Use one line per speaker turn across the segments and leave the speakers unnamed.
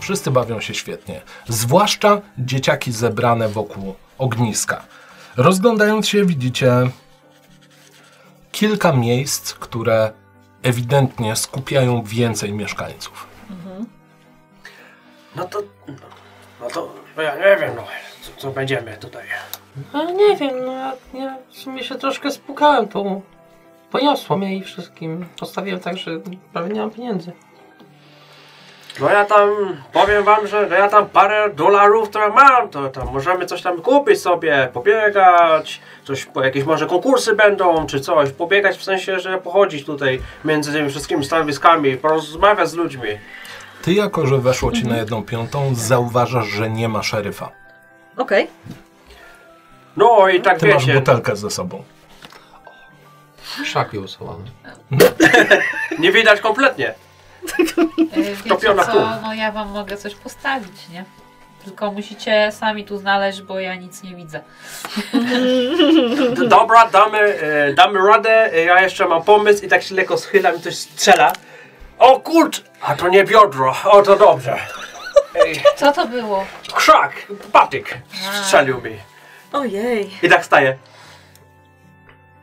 Wszyscy bawią się świetnie, zwłaszcza dzieciaki zebrane wokół ogniska. Rozglądając się, widzicie kilka miejsc, które ewidentnie skupiają więcej mieszkańców.
No to. No to no ja nie wiem, no, co, co będziemy tutaj.
No nie wiem, no ja, ja w sumie się troszkę spukałem tą. Poniosło mnie i wszystkim. Postawiłem tak, że prawie nie mam pieniędzy.
No ja tam powiem wam, że no ja tam parę dolarów, które mam, to tam możemy coś tam kupić sobie, pobiegać, coś, po- jakieś może konkursy będą, czy coś, pobiegać w sensie, że pochodzić tutaj między tymi wszystkimi stanowiskami, porozmawiać z ludźmi.
Ty, jako że weszło ci na jedną piątą, zauważasz, że nie ma szeryfa.
Okej.
No i tak
Ty masz
wiecie,
butelkę ze sobą.
Szak ją usuwamy.
nie widać kompletnie.
Yy, Wiecie
Wtopiona w
co,
pół.
no ja wam mogę coś postawić, nie? Tylko musicie sami tu znaleźć, bo ja nic nie widzę.
D- Dobra, damy, e, damy radę, e, ja jeszcze mam pomysł i tak się lekko schylam i coś strzela. O kurcz! A to nie biodro, o to dobrze. Ej,
Co to było?
krzak, patyk strzelił mi.
Ojej.
I tak staje.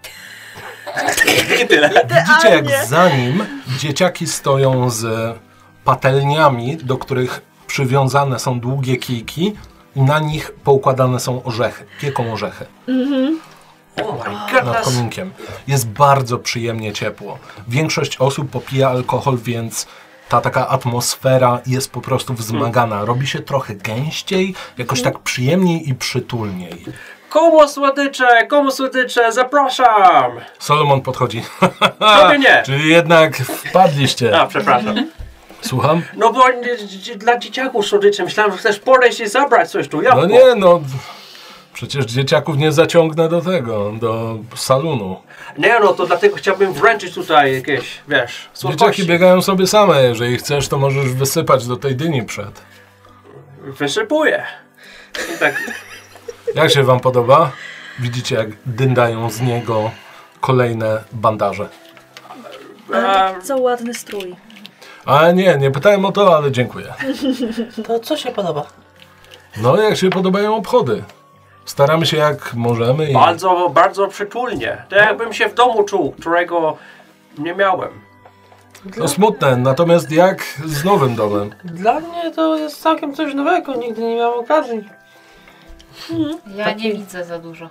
I tyle.
Widzicie, jak
Idealnie.
za nim dzieciaki stoją z patelniami, do których przywiązane są długie kijki i na nich poukładane są orzechy, pieką orzechy
Oh my
nad
goodness.
kominkiem. Jest bardzo przyjemnie ciepło. Większość osób popija alkohol, więc ta taka atmosfera jest po prostu
Hmm.
wzmagana. Robi się trochę gęściej, jakoś tak przyjemniej i przytulniej.
Komu słodycze, komu słodycze, zapraszam!
Solomon podchodzi.
Tobie nie.
Czyli jednak wpadliście.
A, przepraszam.
Słucham?
No bo nie- dzi- dla dzieciaków słodycze, myślałem, że chcesz podejść i zabrać coś tu, jabłko.
No nie, no. Przecież dzieciaków nie zaciągnę do tego, do salonu.
Nie no, to dlatego chciałbym wręczyć tutaj jakieś, wiesz,
Dzieciaki
słodkości.
biegają sobie same. Jeżeli chcesz, to możesz wysypać do tej dyni przed.
Wysypuję. I tak,
Jak się wam podoba? Widzicie, jak dyndają z niego kolejne bandaże.
a,
Co ładny strój.
Ale nie, nie pytałem o to, ale dziękuję.
To co się podoba?
No, jak się podobają obchody? Staramy się jak możemy i...
bardzo, bardzo przytulnie. To jakbym się w domu czuł, którego nie miałem.
To smutne, natomiast jak z nowym domem?
Dla mnie to jest całkiem coś nowego, nigdy nie miałem okazji.
Ja nie widzę za dużo.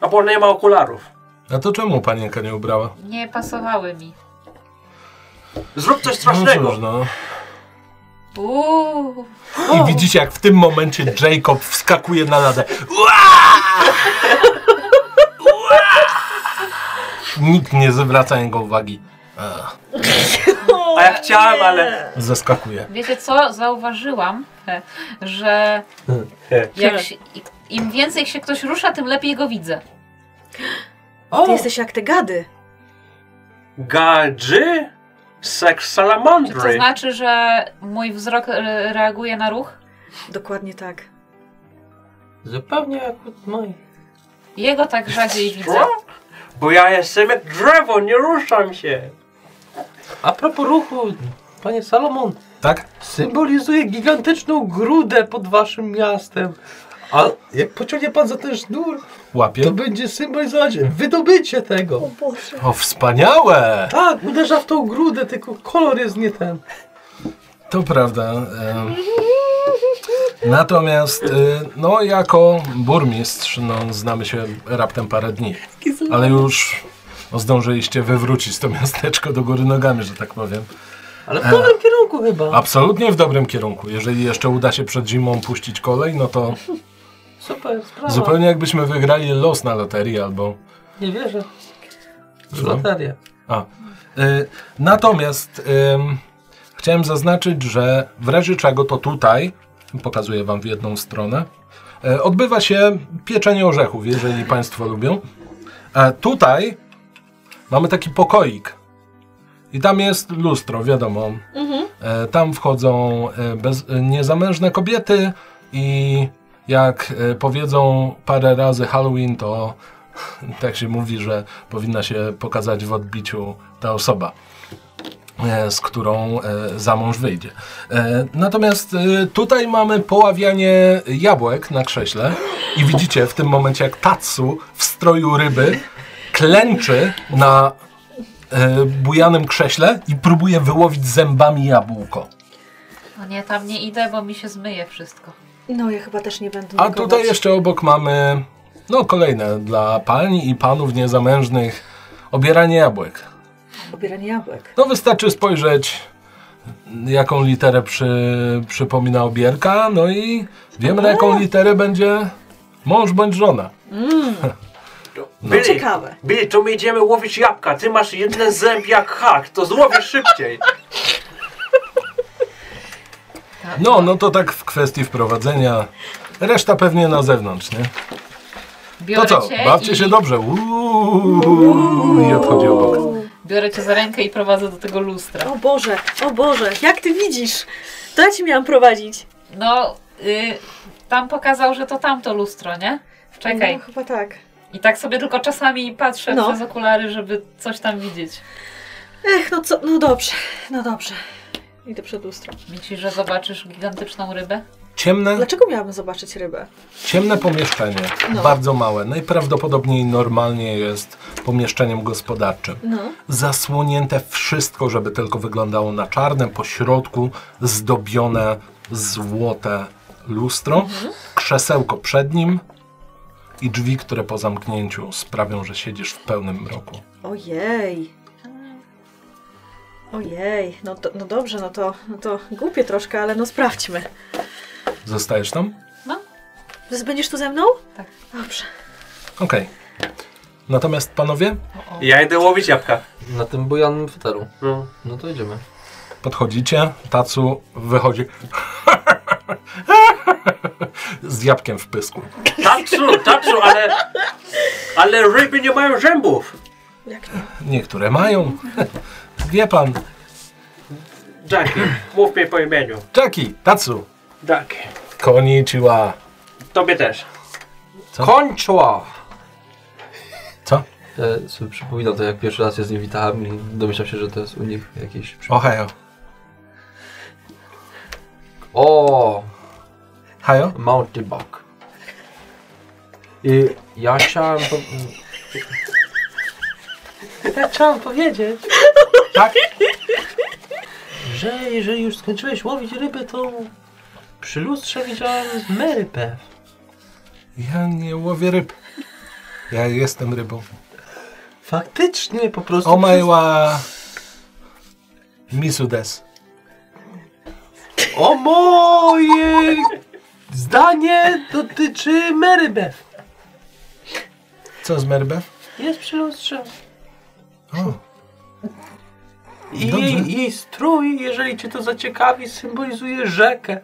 A bo nie ma okularów.
A to czemu panienka nie ubrała? No
Nie pasowały mi.
Zrób coś
No
strasznego.
cóż, no.
Uuu,
I widzicie, jak w tym momencie Jacob wskakuje na ladę. Ua! Ua! Nikt nie zwraca jego uwagi. E,
A ja chciałem, ale...
Zeskakuje.
wiecie co? Zauważyłam, he, że jak się, im więcej się ktoś rusza, tym lepiej go widzę.
Ty jesteś jak te gady.
Gadży? Seks
Czy to
salamandry.
znaczy, że mój wzrok e, reaguje na ruch?
Dokładnie tak.
Zupełnie jak u mojej.
Jego tak rzadziej widzę.
Co? Bo ja jestem jak drzewo, nie ruszam się.
A propos ruchu, panie Salomon,
Tak?
symbolizuje gigantyczną grudę pod waszym miastem.
A jak pociągnie pan za ten sznur, to
Łapie.
będzie symbolizować wydobycie tego.
Boże.
O, wspaniałe!
Tak, uderza w tą grudę, tylko kolor jest nie ten.
To prawda. e, Natomiast, e, no, jako burmistrz, no, znamy się raptem parę dni. Ale już no, zdążyliście wywrócić to miasteczko do góry nogami, że tak powiem.
Ale w dobrym kierunku chyba.
Absolutnie w dobrym kierunku. Jeżeli jeszcze uda się przed zimą puścić kolej, no to
Super,
No.
sprawa.
zupełnie jakbyśmy wygrali los na loterii albo.
Nie wierzę. W
Słucham?
loterię.
A. Y, natomiast ym, chciałem zaznaczyć, że w razie czego to tutaj, pokazuję Wam w jedną stronę, y, odbywa się pieczenie orzechów, jeżeli Państwo lubią. A tutaj mamy taki pokoik. I tam jest lustro, wiadomo. E, tam wchodzą e, bez, e, niezamężne kobiety i jak e, powiedzą parę razy Halloween, to tak się mówi, że powinna się pokazać w odbiciu ta osoba. e, z którą e, za mąż wyjdzie. E, Natomiast e, tutaj mamy poławianie jabłek na krześle i widzicie w tym momencie, jak Tatsu w stroju ryby klęczy na e, bujanym krześle i próbuje wyłowić zębami jabłko.
No nie, tam nie idę, bo mi się zmyje wszystko.
No ja chyba też nie będę
A
negować.
tutaj jeszcze obok mamy no kolejne dla pań i panów niezamężnych obieranie jabłek.
Obieranie jabłek.
No wystarczy spojrzeć, jaką literę przy, przypomina obierka, no i wiemy, na jaką literę będzie mąż bądź żona.
Billy,
Ciekawe.
Billy, to my idziemy łowić jabłka. Ty masz jeden zęb jak hak, to złowisz szybciej.
No, no to tak w kwestii wprowadzenia. Reszta pewnie na zewnątrz, nie? To
Biorę
co,
cię
bawcie
i,
się dobrze. Uuuu, I odchodzi obok.
Biorę cię za rękę i prowadzę do tego lustra.
O Boże, o Boże, jak ty widzisz? To ja ci miałam prowadzić.
No, y, tam pokazał, że to tamto lustro, nie? Czekaj.
No, chyba tak.
I tak sobie tylko czasami patrzę
No.
przez okulary, żeby coś tam widzieć.
Ech, no co, no dobrze, no dobrze. Idę przed lustro.
Myślisz, że zobaczysz gigantyczną rybę?
Ciemne,
Dlaczego miałabym zobaczyć rybę?
ciemne pomieszczenie,
No.
bardzo małe. Najprawdopodobniej normalnie jest pomieszczeniem gospodarczym.
No.
zasłonięte wszystko, żeby tylko wyglądało na czarne, po środku zdobione złote lustro, krzesełko przed nim i drzwi, które po zamknięciu sprawią, że siedzisz w pełnym mroku.
Ojej. Ojej, no, to, no dobrze, no to, no to głupie troszkę, ale no sprawdźmy.
Zostajesz tam?
Ty Będziesz tu ze mną?
Tak.
Dobrze.
Okej. Natomiast panowie,
O, o.
Ja idę łowić jabłka.
Na tym bujanym fotelu.
No.
No to idziemy.
podchodzicie, Tacu wychodzi z jabłkiem w pysku.
Tatsu, tatsu, ale... Ale ryby nie mają zębów.
Jak nie?
Niektóre mają. Wie pan,
Jackie, mów mnie po imieniu.
Jackie, Tacu,
Jackie.
koniciła.
Tobie też.
To-
Kończyła!
Co?
Ja sobie przypominam to, jak pierwszy raz się z nim witałem i domyślam się, że to jest u nich jakieś... przy-
Ohio.
O!
Hajo?
Mounty Bok. I ja chciałem... Po...
Ja chciałam powiedzieć,
Tak?
że jeżeli już skończyłeś łowić ryby, to przy lustrze widziałem myrpę.
Ja nie łowię ryb. Ja jestem rybą.
Faktycznie po prostu...
Omajła misudes.
O moje zdanie dotyczy Merybeth.
Co z merbe?
Jest przy lustrze.
O,
I
Dobrze.
jej, jej strój, jeżeli cię to zaciekawi, symbolizuje rzekę.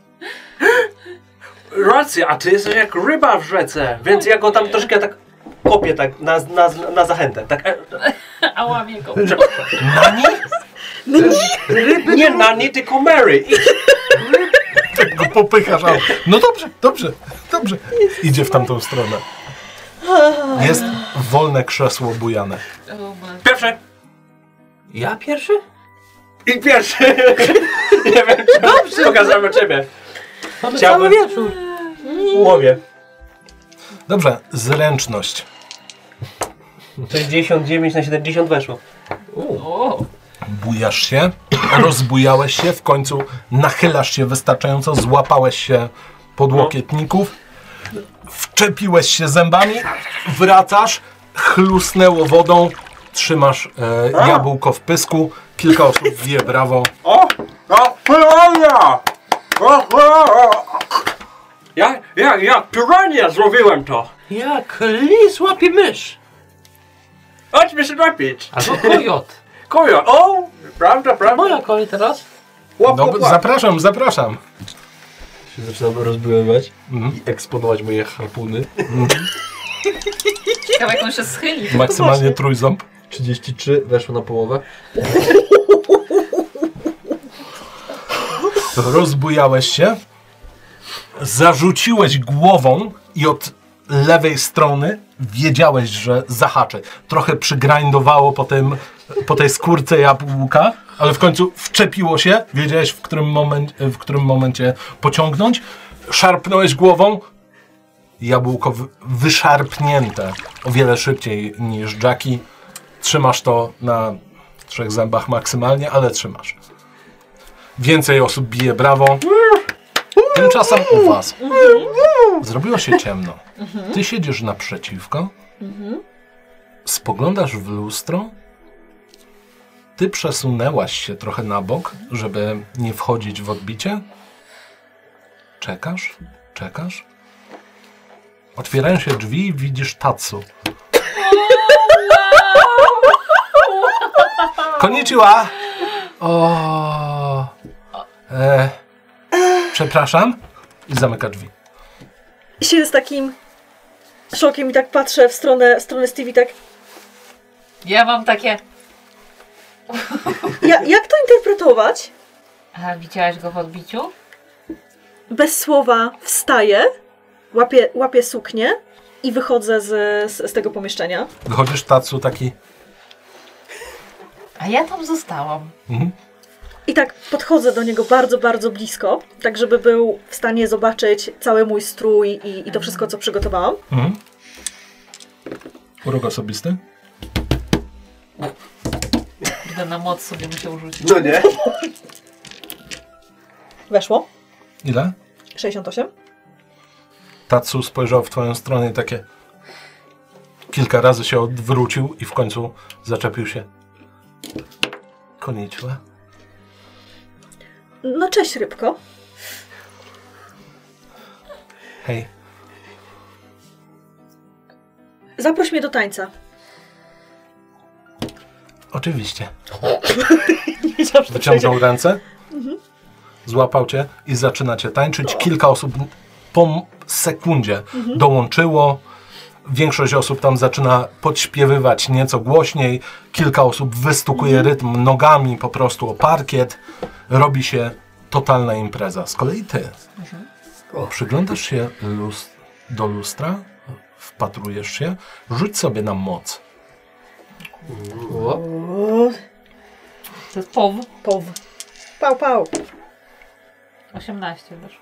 Racja, a ty jesteś jak ryba w rzece. Więc ja go tam troszkę tak kopię tak na, na, na zachętę. Tak, e,
No, A łamie go.
przepraszam.
Ryby
Nie Nani, tylko Mary. I
tak go popychasz. Au. No dobrze, dobrze, dobrze. Idzie w tamtą stronę. Jest wolne krzesło bujane.
O, Boże.
pierwszy.
Ja pierwszy?
I pierwszy. nie wiem, czy Dobrze. pokazałem ciebie.
Mamy
Chciałbym-
cały wieczór.
Łowię.
Dobrze, zręczność.
69 na 70 weszło.
O,
Bujasz się, rozbujałeś się, w końcu nachylasz się wystarczająco, złapałeś się podłokietników, wczepiłeś się zębami, wracasz, chlusnęło wodą, trzymasz e, jabłko w pysku, kilka osób wie brawo.
O! O! Pirania! O! o. Ja, ja, ja, pirania zrobiłem to!
Jak lis łapie mysz.
Chodźmy się napić!
Albo kojot.
Kujo, o! Prawda, prawda?
Moja kolej teraz.
Łap,
No,
łap, łap.
zapraszam, zapraszam.
Się zaczynam rozbywać
Mhm.
i eksponować moje harpuny.
ciekawe jak on się schyli.
Maksymalnie trójząb.
33 weszło na połowę.
Rozbujałeś się, zarzuciłeś głową i od lewej strony wiedziałeś, że zahaczy. Trochę przygrindowało po, tym, po tej skórce jabłka, ale w końcu wczepiło się, wiedziałeś w którym, moment, w którym momencie pociągnąć, szarpnąłeś głową, jabłko wy- wyszarpnięte o wiele szybciej niż Jackie. Trzymasz to na trzech zębach maksymalnie, ale trzymasz. Więcej osób bije brawo. Tymczasem u was zrobiło się ciemno. Ty siedzisz naprzeciwko, spoglądasz w lustro, ty przesunęłaś się trochę na bok, żeby nie wchodzić w odbicie. Czekasz, czekasz. Otwierają się drzwi i widzisz Tatsu. Konnichiwa! O. E, przepraszam. I zamyka drzwi.
Się z takim szokiem i tak patrzę w stronę, w stronę Stevie, tak.
Ja mam takie...
Ja, jak to interpretować?
A, widziałaś go w odbiciu?
Bez słowa wstaję, łapię, łapię suknię i wychodzę z, z, z tego pomieszczenia.
Wychodzisz Tatsu taki.
A ja tam zostałam.
Mhm.
I tak podchodzę do niego bardzo, bardzo blisko, tak żeby był w stanie zobaczyć cały mój strój i, i to wszystko, co przygotowałam.
Mhm. Urok osobisty?
Będę na moc sobie musiał rzucić.
No nie?
Weszło.
Ile?
68.
Tatsu spojrzał w twoją stronę i takie. Kilka razy się odwrócił i w końcu zaczepił się. Konnichiwa.
No cześć, rybko.
Hej.
Zaproś mnie do tańca.
Oczywiście.
Nie wiedziałam, że to
Wyciągnął ręce, złapał cię i zaczynacie tańczyć. Kilka osób po m- sekundzie dołączyło. Większość osób tam zaczyna podśpiewywać nieco głośniej. Kilka osób wystukuje rytm nogami po prostu o parkiet. Robi się totalna impreza. Z kolei ty przyglądasz się lus- do lustra, wpatrujesz się, rzuć sobie na moc.
O,
O,
To jest POW.
Pow. Pał, pał.
18 wyszło.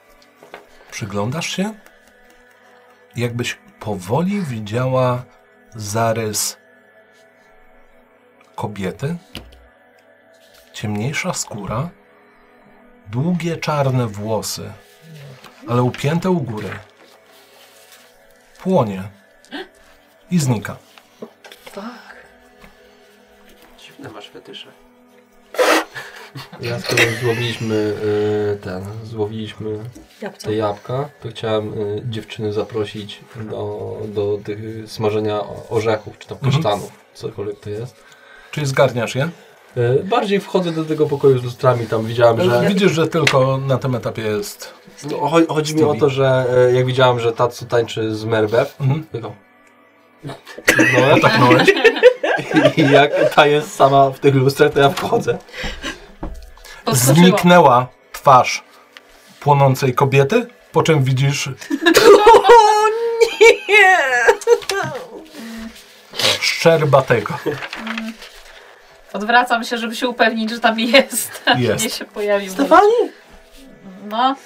Przyglądasz się, jakbyś powoli widziała zarys kobiety, ciemniejsza skóra, długie czarne włosy, ale upięte u góry. Płonie i znika.
Dziwne masz fetysze.
ja skoro złowiliśmy y, ten, złowiliśmy
Jabłko.
te jabłka, to chciałem y, dziewczyny zaprosić do, do tych y, smażenia o- orzechów, czy tam
Mhm.
kasztanów, cokolwiek to jest.
Czyli zgarniasz je?
Y, bardziej wchodzę do tego pokoju z lustrami, tam widziałem, że...
Widzisz, że tylko na tym etapie jest.
No, cho- chodzi mi o to, że e, jak widziałem, że Tatsu tańczy z Merbew,
Mhm.
tylko... No, tak.
Pachnąłeś?
I jak ta jest sama w tych lustrach, to ja wchodzę.
Podskoczyłam.
Zniknęła twarz płonącej kobiety, po czym widzisz
O nie!
szczerbatego.
Odwracam się, żeby się upewnić, że tam jest.
Jest.
Nie się pojawił.
Stefani,
No,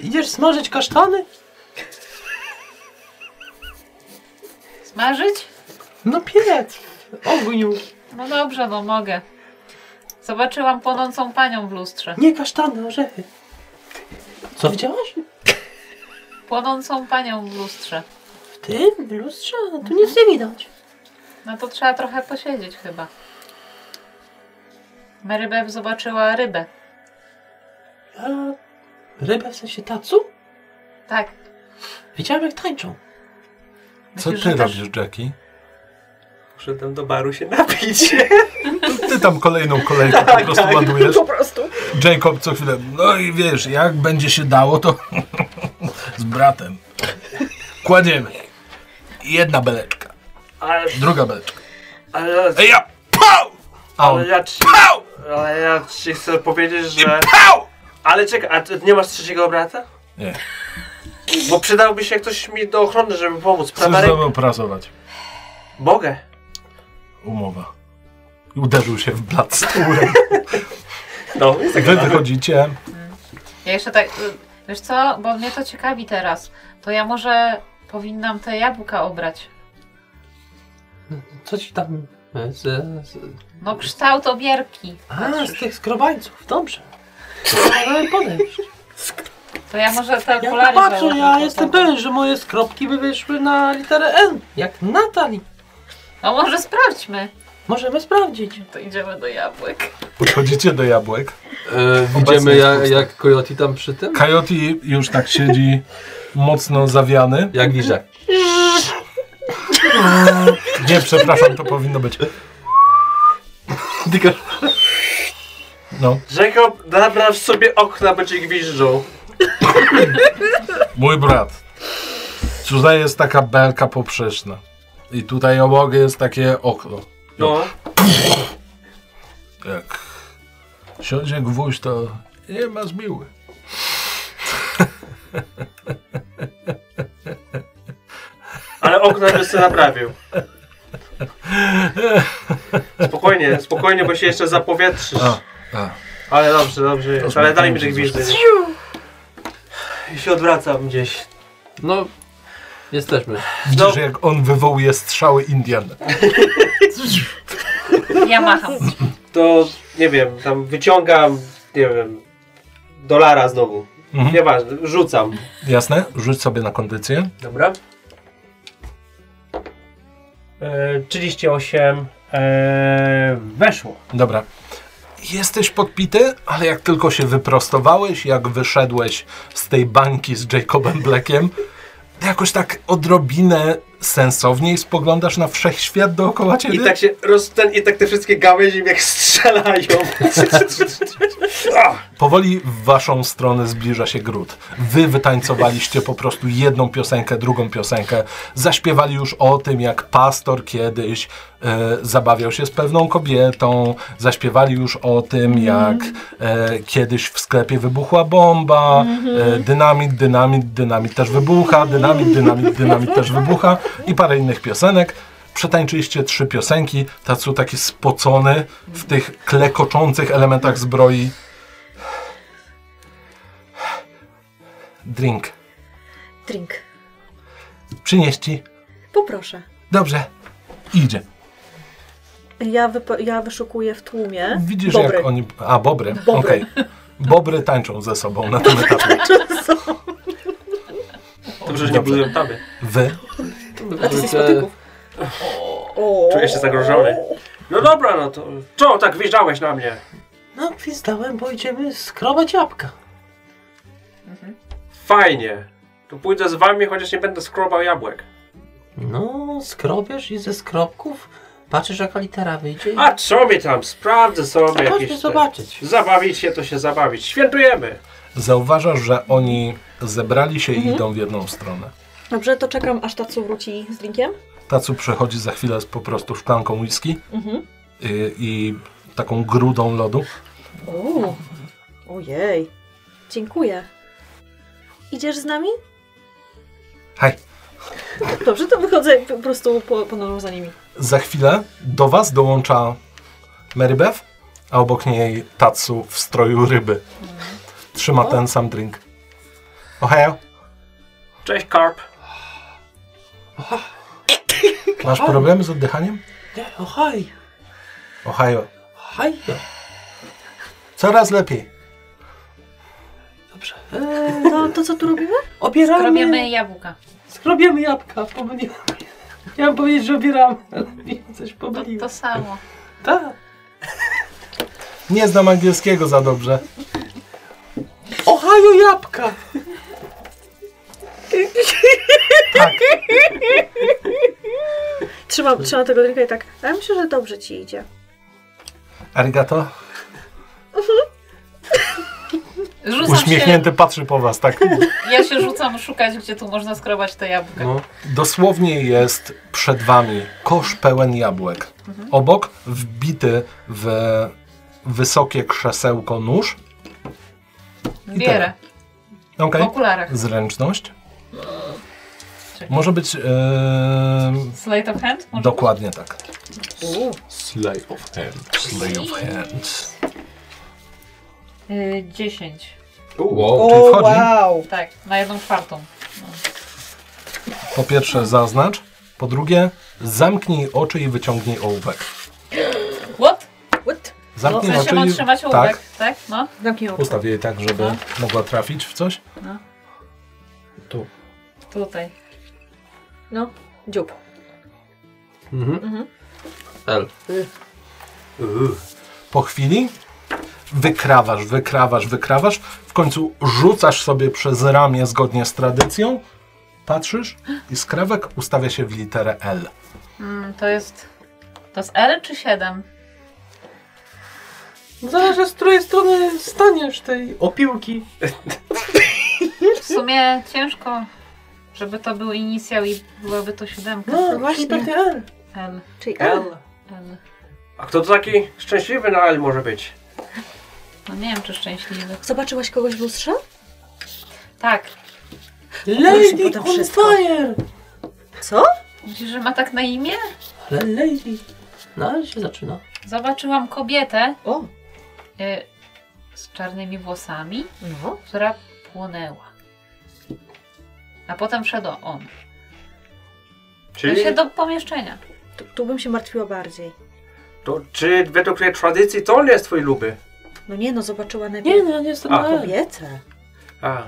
idziesz smażyć kasztany?
smażyć?
No piec, w ogniu.
No dobrze, no mogę. Zobaczyłam płonącą panią w lustrze.
Nie kasztany, orzechy.
Co?
Widziałaś?
Płonącą panią w lustrze.
W tym w lustrze? No tu nic nie widać.
No to trzeba trochę posiedzieć chyba. Mary Beth zobaczyła rybę.
Ja... Rybę w sensie tacu?
Tak.
Widziałem jak tańczą.
Co
Myślisz,
ty
że też-
robisz, Jackie?
Szedłem do baru się napić.
Ty tam kolejną
Tak,
kolejkę po prostu ładujesz.
Po prostu.
Jacob co chwilę, no i wiesz, jak będzie się dało, to z bratem kładziemy. Jedna beleczka,
Ale,
druga beleczka.
ale,
Ej, ja pał! A on
ale ja ci... Ale ja ci chcę powiedzieć, że...
pał!
Ale czekaj, a ty nie masz trzeciego brata?
Nie,
Bo przydałby się ktoś mi do ochrony, żeby pomóc.
chcesz
Prawa
ze
ręka...
mną pracować.
Mogę.
Umowa. I uderzył się w blat stołem.
No, jest tak
Wy wychodzicie.
Ja jeszcze tak, y, wiesz co, bo mnie to ciekawi teraz. To ja może powinnam te jabłka obrać.
Co ci tam? e,
Z, z,
No kształt obierki.
A, z tych skrobańców, dobrze. Ale podejść.
To ja może te
Ja
okulary
patrzę,
założę
ja
potem.
jestem pewien, że moje skropki by wyszły na literę N, jak Natali.
No może sprawdźmy.
Możemy sprawdzić.
To idziemy do jabłek.
Podchodzicie do jabłek.
e, widzimy
jest
jak,
pusta.
jak Coyote tam przy tym?
Coyote już tak siedzi mocno zawiany.
Mhm.
Jak liże.
Nie, przepraszam, to powinno być.
Tylko
No.
Jacob, nabrasz sobie okna, będzie gwiżdżą.
Mój brat. Tutaj jest taka belka poprzeczna. I tutaj obok jest takie okno.
No.
Jak siądzie gwóźdź, to nie ma zmiły.
Ale okna by sobie naprawił. Spokojnie, spokojnie, bo się jeszcze zapowietrzysz.
A, a.
Ale dobrze, dobrze jest. Ale daj mi te gwizdy. I się odwracam gdzieś.
No, jesteśmy.
Widzisz, jak on wywołuje strzały Indian.
Ja macham. Tak.
To, nie wiem, tam wyciągam, nie wiem, dolara znowu.
Mhm.
Nieważne, rzucam.
Jasne? Rzuć sobie na kondycję.
Dobra. E, 38 e, weszło.
Dobra. Jesteś podpity, ale jak tylko się wyprostowałeś, jak wyszedłeś z tej bańki z Jacobem Blackiem, to jakoś tak odrobinę sensowniej spoglądasz na wszechświat dookoła ciebie.
I tak się roz, ten, i tak te wszystkie gałęzie mi jak strzelają.
Powoli w waszą stronę zbliża się gród. Wy wytańcowaliście po prostu jedną piosenkę, drugą piosenkę. Zaśpiewali już o tym, jak pastor kiedyś e, zabawiał się z pewną kobietą. Zaśpiewali już o tym, jak e, kiedyś w sklepie wybuchła bomba. E, dynamit, dynamit, dynamit też wybucha. Dynamit, dynamit, dynamit też wybucha. I parę innych piosenek. Przetańczyliście trzy piosenki. Tacu taki spocony w tych klekoczących elementach zbroi. Drink.
Drink.
Przynieść ci.
Poproszę.
Dobrze. Idzie.
Ja, wypo- ja wyszukuję w tłumie.
Widzisz,
Bobry.
jak oni. A, bobry.
Bobry.
Okej. Bobry tańczą ze sobą na tym etapie.
Dobrze, że nie byłem tam.
Wy.
A ty jesteś
Te-
spotyków. O.
Czuję się zagrożony. No dobra, no to. Czemu tak wjeżdżałeś na mnie?
No, gwizdałem, bo idziemy skrobać jabłka.
Fajnie. To pójdę z wami, chociaż nie będę skrobał jabłek.
No, skrobiesz i ze skropków patrzysz, jaka litera wyjdzie. i-
A co mi tam? Sprawdzę sobie jakieś.
Chodźmy
te-
zobaczyć.
Zabawić się, to się zabawić. Świętujemy.
Zauważasz, że oni zebrali się
Mhm.
i idą w jedną stronę.
Dobrze, to czekam aż Tatsu wróci z drinkiem.
Tacu przechodzi za chwilę z po prostu szklanką whisky
Mhm.
i, i taką grudą lodu.
O. Ojej. Dziękuję. Idziesz z nami?
Hej.
Dobrze, to wychodzę po prostu po, podążam za nimi.
Za chwilę do was dołącza Mary Beth, a obok niej Tatsu w stroju ryby. Trzyma ten sam drink. Ohio.
Cześć, Karp.
Masz problemy z oddychaniem?
Nie, Ohaj,
Ohio.
ohaj,
Coraz lepiej.
dobrze. Eee,
To, to co tu robimy?
obieramy,
Robimy jabłka.
skrobiemy jabłka, pomyliłam. Chciałam powiedzieć, że obieramy, ale mi coś
To,
pomyliło.
to samo.
Tak.
Nie znam angielskiego za dobrze.
Ohaju jabłka.
Tak.
Trzymam, trzymam tego drinka i tak. A ja myślę, że dobrze ci idzie.
Arigato.
Rzucam
Uśmiechnięty patrzy po was, tak.
się, ja się rzucam szukać, gdzie tu można skrobać te jabłka.
No,
Dosłownie jest przed wami kosz pełen jabłek. Obok wbity w wysokie krzesełko nóż.
Bierę. W
Okej.
okularach.
Zręczność. Może być. em,
Slate of hand? Może?
dokładnie tak.
slay of hand.
Play of hands.
Y, 10.
Wow, czyli wchodzi.
wow.
Tak, na jedną czwartą.
Po pierwsze zaznacz, po drugie zamknij oczy i wyciągnij ołówek.
What?
What?
Zamknij
No, W sensie ma trzymać ołówek,
No tak,
tak? No.
Zamknij oczy.
ustaw jej tak, żeby
No.
mogła trafić w coś.
Tu.
Tutaj.
No, dziób.
L.
Po chwili wykrawasz, wykrawasz, wykrawasz, w końcu rzucasz sobie przez ramię zgodnie z tradycją, patrzysz i skrawek ustawia się w literę L.
Mm, to jest... To jest L czy 7?
Zależy z której strony staniesz tej opiłki.
W sumie ciężko, żeby to był inicjał i byłaby to siódemka.
No, właśnie pewnie L.
L.
Czyli L.
L.
L.
A kto to taki szczęśliwy na L może być?
No nie wiem, czy szczęśliwy.
Zobaczyłaś kogoś w lustrze?
Tak.
Proszę,
Lady
potem
on
wszystko.
fire!
Co?
Myślisz, że ma tak na imię?
Lady.
No, ale się zaczyna.
Zobaczyłam kobietę
O,
y, z czarnymi włosami,
no.
która płonęła. A potem wszedł on.
Czyli,
Czyli się do pomieszczenia.
Tu, tu bym się martwiła bardziej.
to, czy według tej tradycji to on jest twój luby?
No nie, no zobaczyła najpierw
Nie, no nie jestem
A,
na L.
kobietę.
A,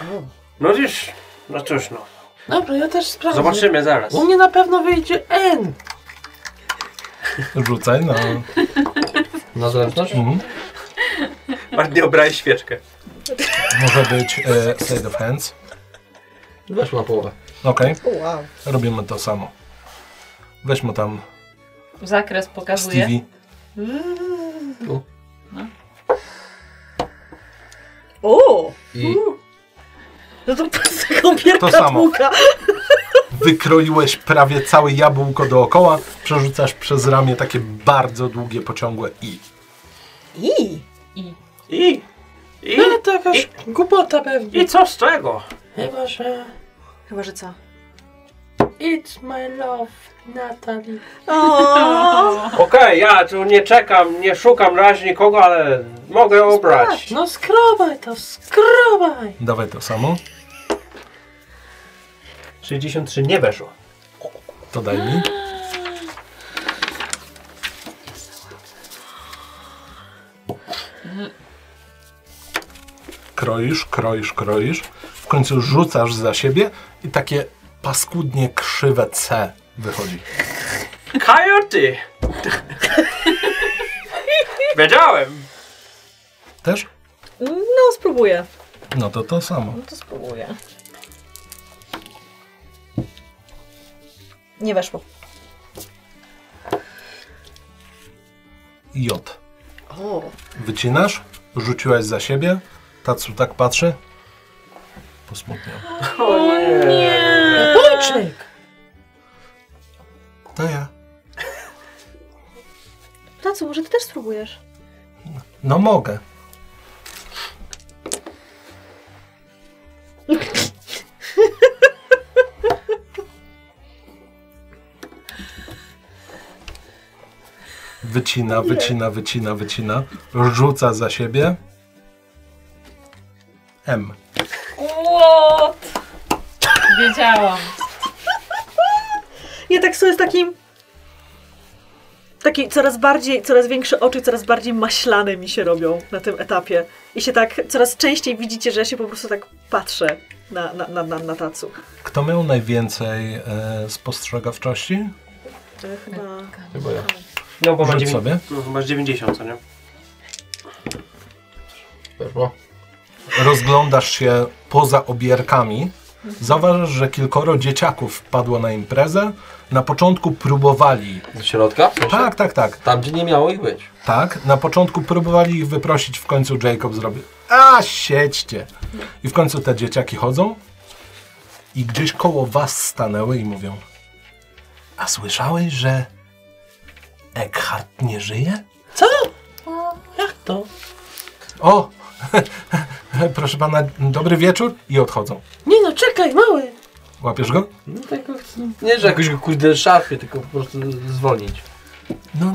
O.
no widzisz, no cóż no.
Dobra, ja też sprawdzę.
Zobaczymy zaraz.
U mnie na pewno wyjdzie N.
Rzucaj no, na...
Na zręczność?
Mhm.
Masz nie obrałeś świeczkę.
Może być e, Side of Hands.
Weszło na połowę.
Okej,
O, wow.
robimy to samo. Weźmy tam
Zakres pokazuje.
Stevie.
Tu.
O!
I
Mhm.
No to taką
To
wielka
samo.
długa.
Wykroiłeś prawie całe jabłko dookoła, przerzucasz przez ramię takie bardzo długie, pociągłe i.
I!
I.
I, i,
No, Ale to jakaś głupota pewnie.
i co z tego?
Chyba, że...
Chyba, że co?
It's my love, Natalie.
O!
Okej, ja tu nie czekam, nie szukam razie nikogo, ale mogę obrać.
No skrobaj to, skrobaj!
Dawaj to samo,
63 nie weszło.
to daj mi. Kroisz, kroisz, kroisz. W końcu rzucasz za siebie i takie paskudnie krzywe C wychodzi.
Coyote! Wiedziałem!
Też?
No, spróbuję.
No to to samo.
No to spróbuję. Nie weszło.
J.
O!
Wycinasz, rzuciłaś za siebie. Tatsu tak patrzy. Posmutniał.
O nie!
Bójczyk!
To ja.
No
Na co, może ty też spróbujesz?
No mogę. Wycina, wycina, wycina, wycina. Rzuca za siebie. M.
What? Wiedziałam.
Ja tak sobie z takim... Taki coraz bardziej, coraz większe oczy, coraz bardziej maślane mi się robią na tym etapie. I się tak coraz częściej widzicie, że ja się po prostu tak patrzę na, na, na, na, na tacu.
Kto miał najwięcej e, spostrzegawczości?
To ja Chyba...
chyba ja.
No bo masz,
Rzuć
dziewię-
sobie.
no, bo masz 90, co nie?
Weszło.
rozglądasz się poza obierkami, zauważasz, że kilkoro dzieciaków wpadło na imprezę. Na początku próbowali.
Do środka? W sensie?
Tak, tak, tak.
Tam, gdzie nie miało ich być.
Tak, na początku próbowali ich wyprosić, w końcu Jacob zrobił. A, siedźcie! I w końcu te dzieciaki chodzą i gdzieś koło was stanęły i mówią A słyszałeś, że Eckhart nie żyje?
Co? Jak to?
O! Proszę pana, dobry wieczór i odchodzą.
Nie no, czekaj, mały!
Łapiesz go?
No tak, nie, że jakoś go kurde szafy, tylko po prostu zwolnić.
No,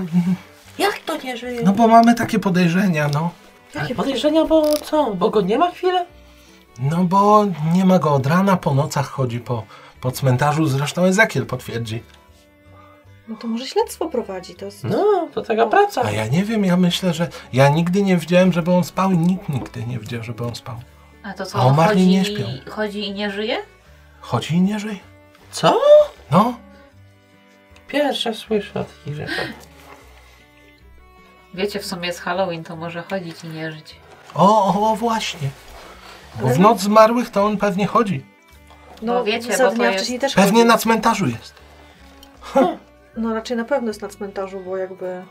Jak to nie żyje?
No bo mamy takie podejrzenia, no.
Jakie podejrzenia, bo co? Bo go nie ma chwilę?
No bo nie ma go od rana, po nocach chodzi po, po cmentarzu, zresztą Ezekiel potwierdzi.
No to może śledztwo prowadzi, to jest...
No, to taka praca.
A ja nie wiem, ja myślę, że ja nigdy nie widziałem, żeby on spał i nikt nigdy nie widział, żeby on spał.
A to co,
A
on
umarli
chodzi,
nie śpią.
chodzi i nie żyje?
Chodzi i nie żyje.
Co?
No,
Pierwsze słyszę o takich rzeczach.
Wiecie, w sumie jest Halloween, to może chodzić i nie żyć.
o, o, o właśnie. Bo
Ale-
w noc zmarłych to on pewnie chodzi.
No wiecie,
za
bo to
dnia
jest-
wcześniej też
Pewnie
chodził.
na cmentarzu jest.
No raczej na pewno jest na cmentarzu, bo jakby...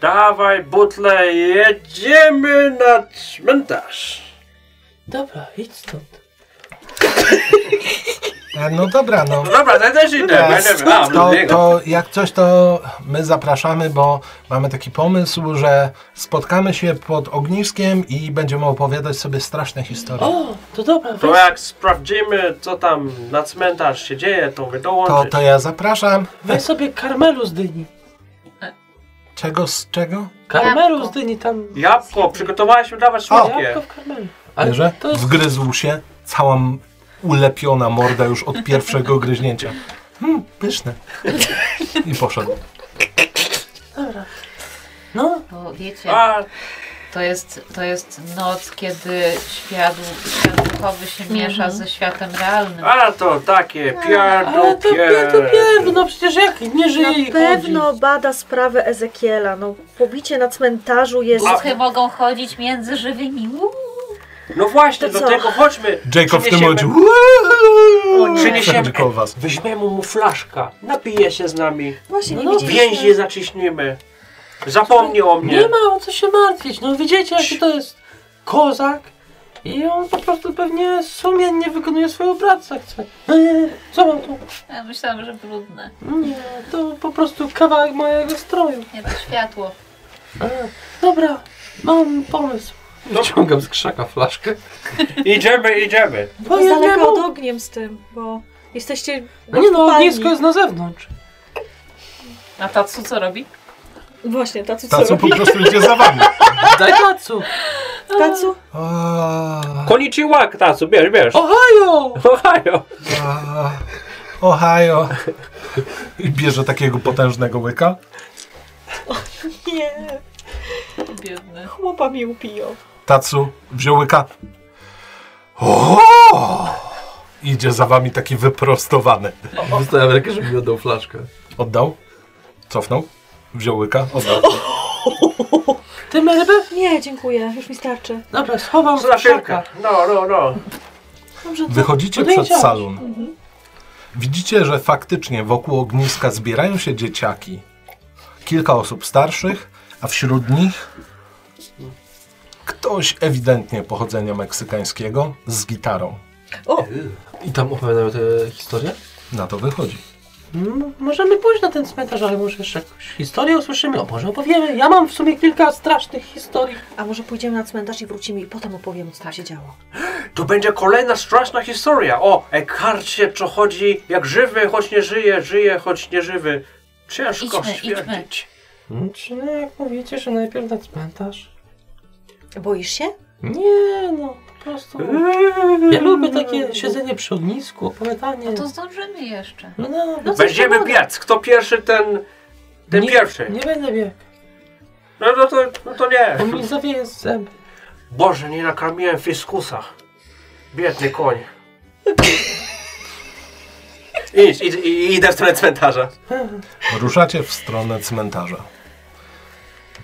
Dawaj butle, jedziemy na cmentarz.
Dobra, idź stąd.
E, No dobra, no.
No dobra, ja też idę. Ja nie wiem. A,
To,
biegam.
to jak coś, to my zapraszamy, bo mamy taki pomysł, że spotkamy się pod ogniskiem i będziemy opowiadać sobie straszne historie.
O, to dobra,
To
weź,
jak sprawdzimy, co tam na cmentarz się dzieje, to wy
To,
dołączyć.
to ja zapraszam.
weź sobie karmelu z dyni.
Czego z czego?
Karmelu
Jabłko.
z dyni tam.
Jabłko, przygotowałeś mu dawać
Jabłko
słodkie.
w karmelu.
Ale-
Że
to jest-
wgryzł się, cała m- ulepiona morda już od pierwszego gryźnięcia. Hmm, pyszne. I poszedł.
Dobra. No,
Bo wiecie,
A,
to jest, to jest noc, kiedy świat, świat duchowy się miesza ze światem realnym.
a to takie
ale
pierdol,
to pie- to
pierdol.
pewno, przecież jak nie żyje
Na
i chodzi.
pewno bada sprawę Ezekiela. No pobicie na cmentarzu jest...
Duchy mogą chodzić między żywymi. Uuu.
No właśnie,
To
do
co?
tego chodźmy.
Jacob w tym
Przyniesiemy-
momencie.
Przyniesiemy-
Wchodzi koło was.
Weźmiemy mu flaszka, napije się z nami,
Właśnie, nie
No,
widzieliśmy.
więzi zaciśnimy. Zapomniał o mnie.
Nie ma o co się martwić. No widzicie, jaki to jest kozak. I on po prostu pewnie sumiennie wykonuje swoją pracę. jak chce. Eee, Co mam tu?
Ja myślałam, że brudne.
Nie, Mm, to po prostu kawałek mojego stroju.
Nie, to światło.
Eee, Dobra, mam pomysł.
Wyciągam z krzaka flaszkę.
Idziemy, idziemy.
To jest
Pojedziemy.
daleko od ogniem z tym, bo jesteście...
No Nie no,
odkopani.
ognisko jest na zewnątrz.
A Tatsu co robi?
Właśnie, tacu co
Tacu
robi?
po prostu idzie za wami.
Daj placu.
Tacu?
O,
Konichiwa, Tasu, bierz, bierz.
Ohio!
Ohio.
a, Ohio. I bierze takiego potężnego łyka.
Nie,
Biedny.
chłopa mi upiją.
Tacu wziął łyka. O! Idzie za wami taki wyprostowany.
Wystawiam rękę, żeby mi oddał flaszkę.
Oddał, cofnął, wziął łyka, oddał.
Ty rybę?
Nie, dziękuję, już mi starczy.
Dobra, schowam
Za
w
szynkę.
szaka.
No, no, no.
Dobrze, to...
Wychodzicie
Podejrzałeś.
przed salon. Widzicie, że faktycznie wokół ogniska zbierają się dzieciaki. Kilka osób starszych, a wśród nich ktoś ewidentnie pochodzenia meksykańskiego z gitarą.
I tam opowiadają tę historię?
Na to wychodzi.
Mm, Możemy pójść na ten cmentarz, ale może jeszcze jakąś historię usłyszymy. O Boże, opowiemy. Ja mam w sumie kilka strasznych historii.
A może pójdziemy na cmentarz i wrócimy i potem opowiemy, co tam się działo.
To będzie kolejna straszna historia. O Eckharcie, co chodzi, jak żywy, choć nie żyje, żyje, choć nie żywy. Ciężko
Idźmy,
stwierdzić.
Czy no, jak mówicie, że najpierw na cmentarz?
Boisz się?
Nie, no, po prostu.
Eee.
Ja lubię takie siedzenie przy ognisku, opowiadanie.
No to zdążymy jeszcze.
No, no,
No co
Będziemy
pogoda?
biec. Kto pierwszy, ten... Ten
nie,
pierwszy.
Nie będę biegł,
No, no, to, no to nie.
bo mi zawieje zęby.
Boże, nie nakarmiłem fiskusa. Biedny koń. Idź, idź, i- idę w stronę cmentarza.
Ruszacie w stronę cmentarza.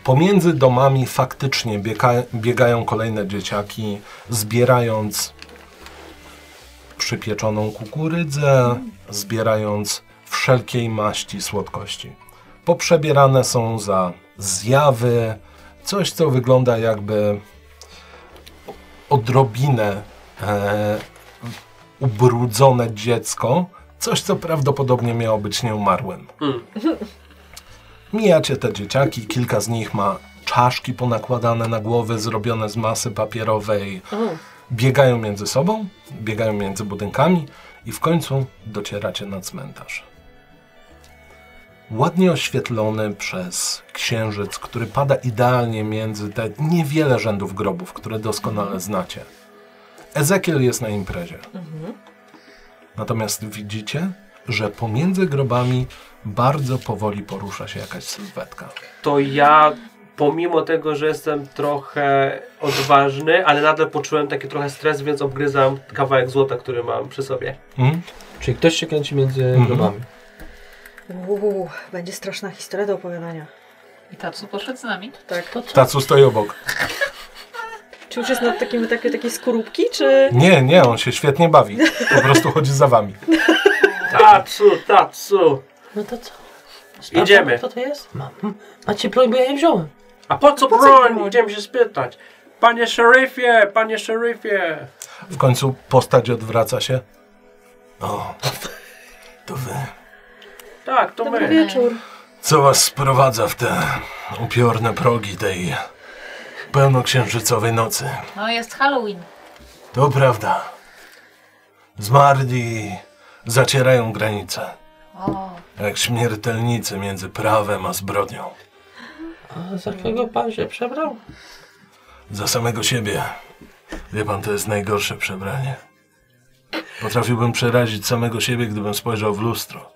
Pomiędzy domami faktycznie biega, biegają kolejne dzieciaki, zbierając przypieczoną kukurydzę, zbierając wszelkiej maści słodkości. Poprzebierane są za zjawy, coś co wygląda jakby odrobinę e, ubrudzone dziecko, coś co prawdopodobnie miało być nieumarłym. Mijacie te dzieciaki, kilka z nich ma czaszki ponakładane na głowy, zrobione z masy papierowej. Biegają między sobą, biegają między budynkami i w końcu docieracie na cmentarz. ładnie oświetlony przez księżyc, który pada idealnie między te niewiele rzędów grobów, które doskonale znacie. Ezekiel jest na imprezie. Natomiast widzicie, że pomiędzy grobami bardzo powoli porusza się jakaś sylwetka.
to ja pomimo tego, że jestem trochę odważny, ale nadal poczułem taki trochę stres, więc obgryzam kawałek złota, który mam przy sobie.
Mm?
Czyli ktoś się kręci między
Mhm.
grobami.
Uuu, będzie straszna historia do opowiadania.
I Tatsu poszedł z nami.
Tak.
Tacu stoi obok.
Czy już jest na takim, takie, takiej skorupki, czy...
Nie, nie, on się świetnie bawi. Po prostu chodzi za wami.
Tak. Tatsu, tatsu!
No to co?
Idziemy.
Co to jest? Mam. A ci broń, bo ja je wziąłem.
A po co broń? Idziemy się spytać. Panie szeryfie, panie szeryfie!
W końcu postać odwraca się. O, to wy.
Tak, to
Dobry
my.
wieczór.
Co was sprowadza w te upiorne progi tej pełnoksiężycowej nocy?
No jest Halloween.
To prawda. Zmarli zacierają granice.
O,
Jak śmiertelnicy między prawem a zbrodnią.
A za kogo pan się przebrał?
Za samego siebie. Wie pan, to jest najgorsze przebranie. Potrafiłbym przerazić samego siebie, gdybym spojrzał w lustro.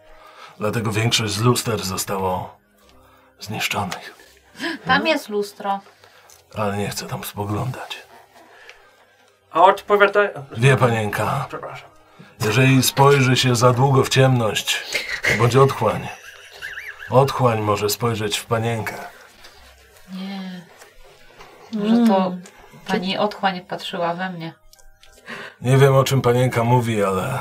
Dlatego większość z luster zostało zniszczonych.
tam jest lustro.
Ale nie chcę tam spoglądać.
A odpowiadaj...
Wie panienka,
Przepraszam.
jeżeli spojrzy się za długo w ciemność, bądź otchłań. Otchłań może spojrzeć w panienkę.
Nie. Może to pani otchłań patrzyła we mnie.
Nie wiem, o czym panienka mówi, ale...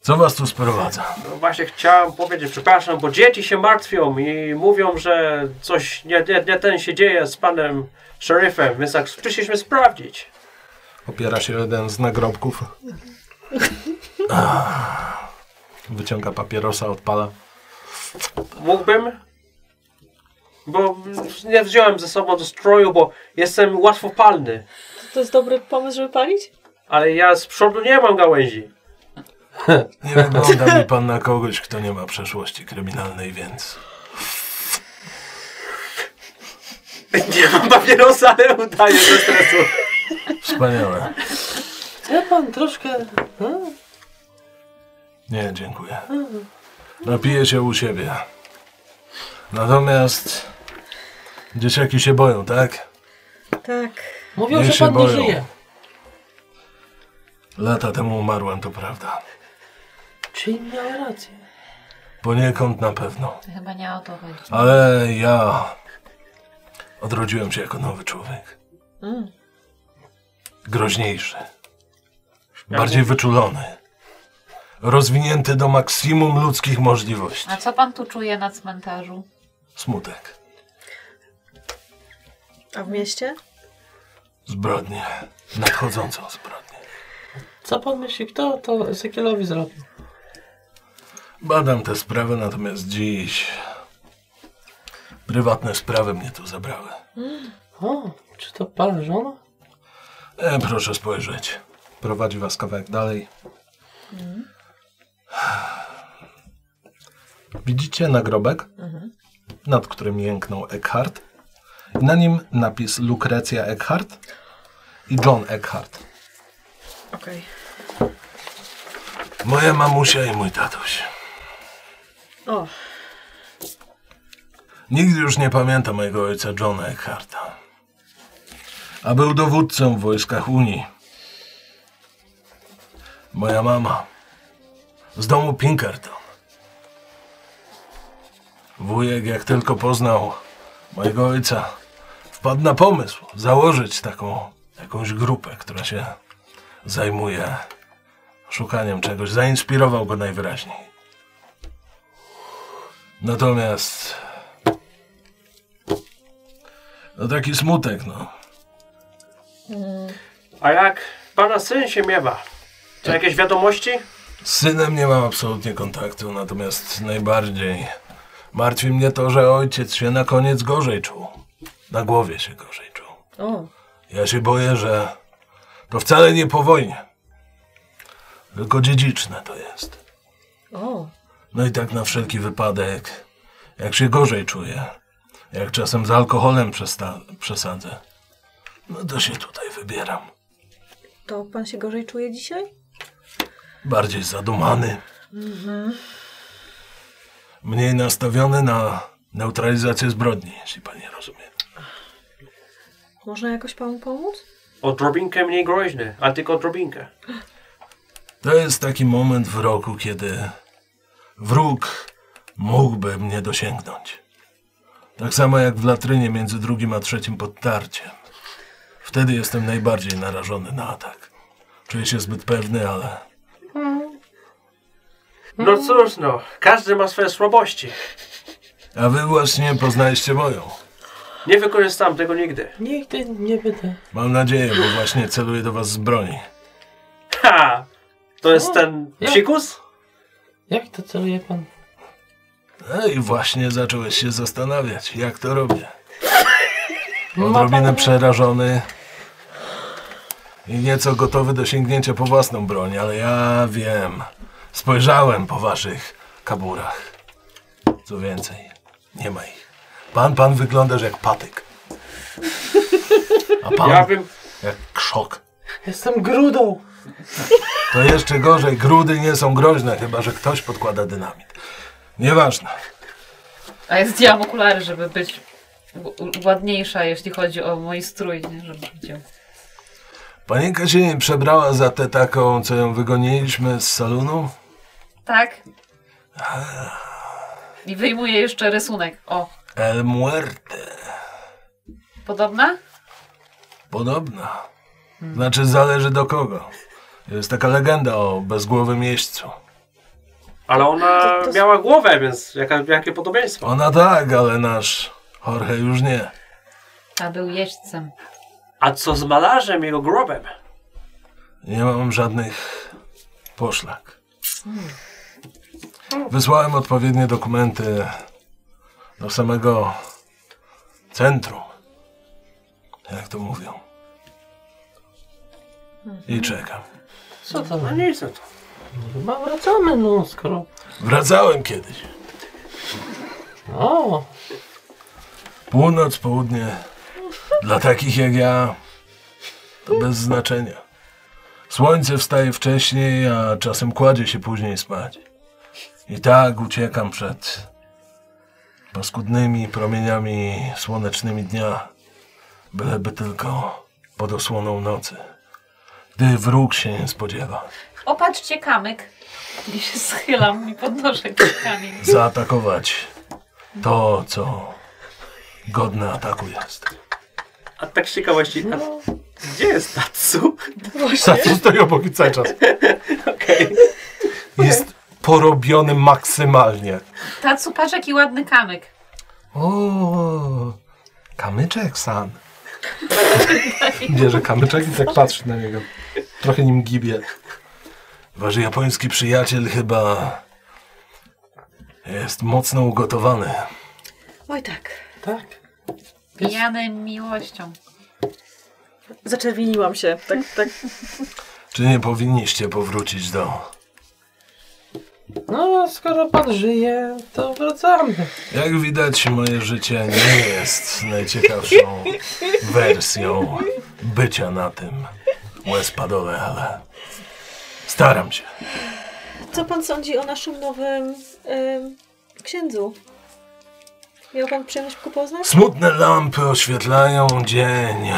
Co was tu sprowadza?
No właśnie chciałem powiedzieć, przepraszam, bo dzieci się martwią i mówią, że coś nie, nie, nie ten się dzieje z panem szeryfem, więc tak przyszliśmy sprawdzić.
Opiera się jeden z nagrobków. Ah. Wyciąga papierosa, odpala.
Mógłbym? Bo nie wziąłem ze sobą do stroju, bo jestem łatwopalny.
To jest dobry pomysł, żeby palić?
Ale ja z przodu nie mam gałęzi.
Nie wygląda mi pan na kogoś, kto nie ma przeszłości kryminalnej, więc...
Nie mam papierosa, ale udaję ze stresu.
Wspaniałe.
Chce pan troszkę... Hmm?
Nie, dziękuję. Napiję się u siebie. Natomiast... Dzieciaki się boją, tak?
Tak.
Mówią,
Nie
że
się
pan
boją.
nie żyje.
Lata temu umarłem, to prawda.
Czyli miał rację.
Poniekąd na pewno.
Chyba nie o to chodzi.
Ale ja odrodziłem się jako nowy człowiek. Groźniejszy. Bardziej wyczulony. Rozwinięty do maksimum ludzkich możliwości.
A co pan tu czuje na cmentarzu?
Smutek.
A w mieście?
Zbrodnie. Nadchodzącą zbrodnię.
Co pan myśli, kto to Ezekielowi zrobił?
Badam tę sprawę, natomiast dziś prywatne sprawy mnie tu zabrały.
O, czy to pan żona?
E, proszę spojrzeć. Prowadzi was kawałek dalej. Widzicie nagrobek, nad którym jęknął Eckhart. I na nim napis Lukrecja Eckhart i John Eckhart.
Okej.
Moja mamusia i mój tatuś.
O,
Nigdy już nie pamięta mojego ojca Johna Eckharta. A był dowódcą w wojskach Unii. Moja mama. Z domu Pinkerton. Wujek, jak tylko poznał mojego ojca, wpadł na pomysł założyć taką jakąś grupę, która się zajmuje szukaniem czegoś. Zainspirował go najwyraźniej. Natomiast no taki smutek, no.
A jak pana syn się miewa? Czy jakieś wiadomości?
Z synem nie mam absolutnie kontaktu, natomiast najbardziej martwi mnie to, że ojciec się na koniec gorzej czuł. Na głowie się gorzej czuł.
o.
Ja się boję, że to wcale nie po wojnie. Tylko dziedziczne to jest.
O,
No i tak na wszelki wypadek, jak się gorzej czuję, jak czasem z alkoholem przesta- przesadzę, no to się tutaj wybieram.
To pan się gorzej czuje dzisiaj?
Bardziej zadumany. Mniej nastawiony na neutralizację zbrodni, jeśli pani rozumie.
Można jakoś panu pomóc?
Odrobinkę mniej groźny, ale tylko odrobinkę.
To jest taki moment w roku, kiedy wróg mógłby mnie dosięgnąć. Tak samo jak w latrynie między drugim a trzecim podtarciem. Wtedy jestem najbardziej narażony na atak. Czuję się zbyt pewny, ale
No cóż, no, każdy ma swoje słabości.
A wy właśnie poznaliście moją.
Nie wykorzystam tego nigdy.
Nigdy nie będę.
Mam nadzieję, bo właśnie celuję do was z broni.
Ha! To jest ten
ja-
psikus?
Jak to celuje pan?
No i właśnie zacząłeś się zastanawiać, jak to robię.
Ma
Odrobinę
pan-
przerażony i nieco gotowy do sięgnięcia po własną broń, ale ja wiem. Spojrzałem po waszych kaburach. Co więcej, nie ma ich. Pan, pan wyglądasz jak patyk. A pan
Ja bym...
jak krzok.
Jestem grudą.
To jeszcze gorzej, grudy nie są groźne, chyba że ktoś podkłada dynamit. Nieważne.
A ja zdjęłam okulary, żeby być u- u- ładniejsza, jeśli chodzi o mój strój, nie? Żeby widział.
Panienka się nie przebrała za tę taką, co ją wygoniliśmy z salonu?
Tak? I wyjmuję jeszcze rysunek. O,
El Muerte.
podobna?
Podobna. Znaczy zależy do kogo. Jest taka legenda o bezgłowym jeźdźcu.
Ale ona miała głowę, więc jaka, jakie podobieństwo.
Ona tak, ale nasz Jorge już nie.
Ta był jeźdźcem.
A co z malarzem i jego grobem?
Nie mam żadnych poszlak. Wysłałem odpowiednie dokumenty do samego centrum. Jak to mówią. I czekam.
Co to?
No nic, no to...
Chyba wracamy, no skoro.
Wracałem kiedyś.
O,
Północ, południe. Dla takich jak ja to bez znaczenia. Słońce wstaje wcześniej, a czasem kładzie się później spać. I tak uciekam przed paskudnymi promieniami słonecznymi dnia, byleby tylko pod osłoną nocy, gdy wróg się nie spodziewa,
Opatrzcie kamyk. I się schylam i podnoszę ten kamień.
zaatakować to, co godne ataku jest.
A tak z ciekawości, a
No.
gdzie jest Tatsu?
Satur stoi obok i cały czas. Jest porobiony maksymalnie.
Tatsu, patrz jaki ładny kamyk.
O, kamyczek san. Bierze kamyczek i tak patrzy na niego. Trochę nim gibie. Wasz japoński przyjaciel chyba jest mocno ugotowany.
Oj tak.
tak.
Pijany miłością.
Zaczerwieniłam się. Tak, tak.
Czy nie powinniście powrócić do...
No, skoro pan żyje, to wracamy.
Jak widać, moje życie nie jest najciekawszą wersją bycia na tym łespadole, ale staram się.
Co pan sądzi o naszym nowym em, księdzu? Miał pan przyjemność go poznać?
Smutne lampy oświetlają dzień.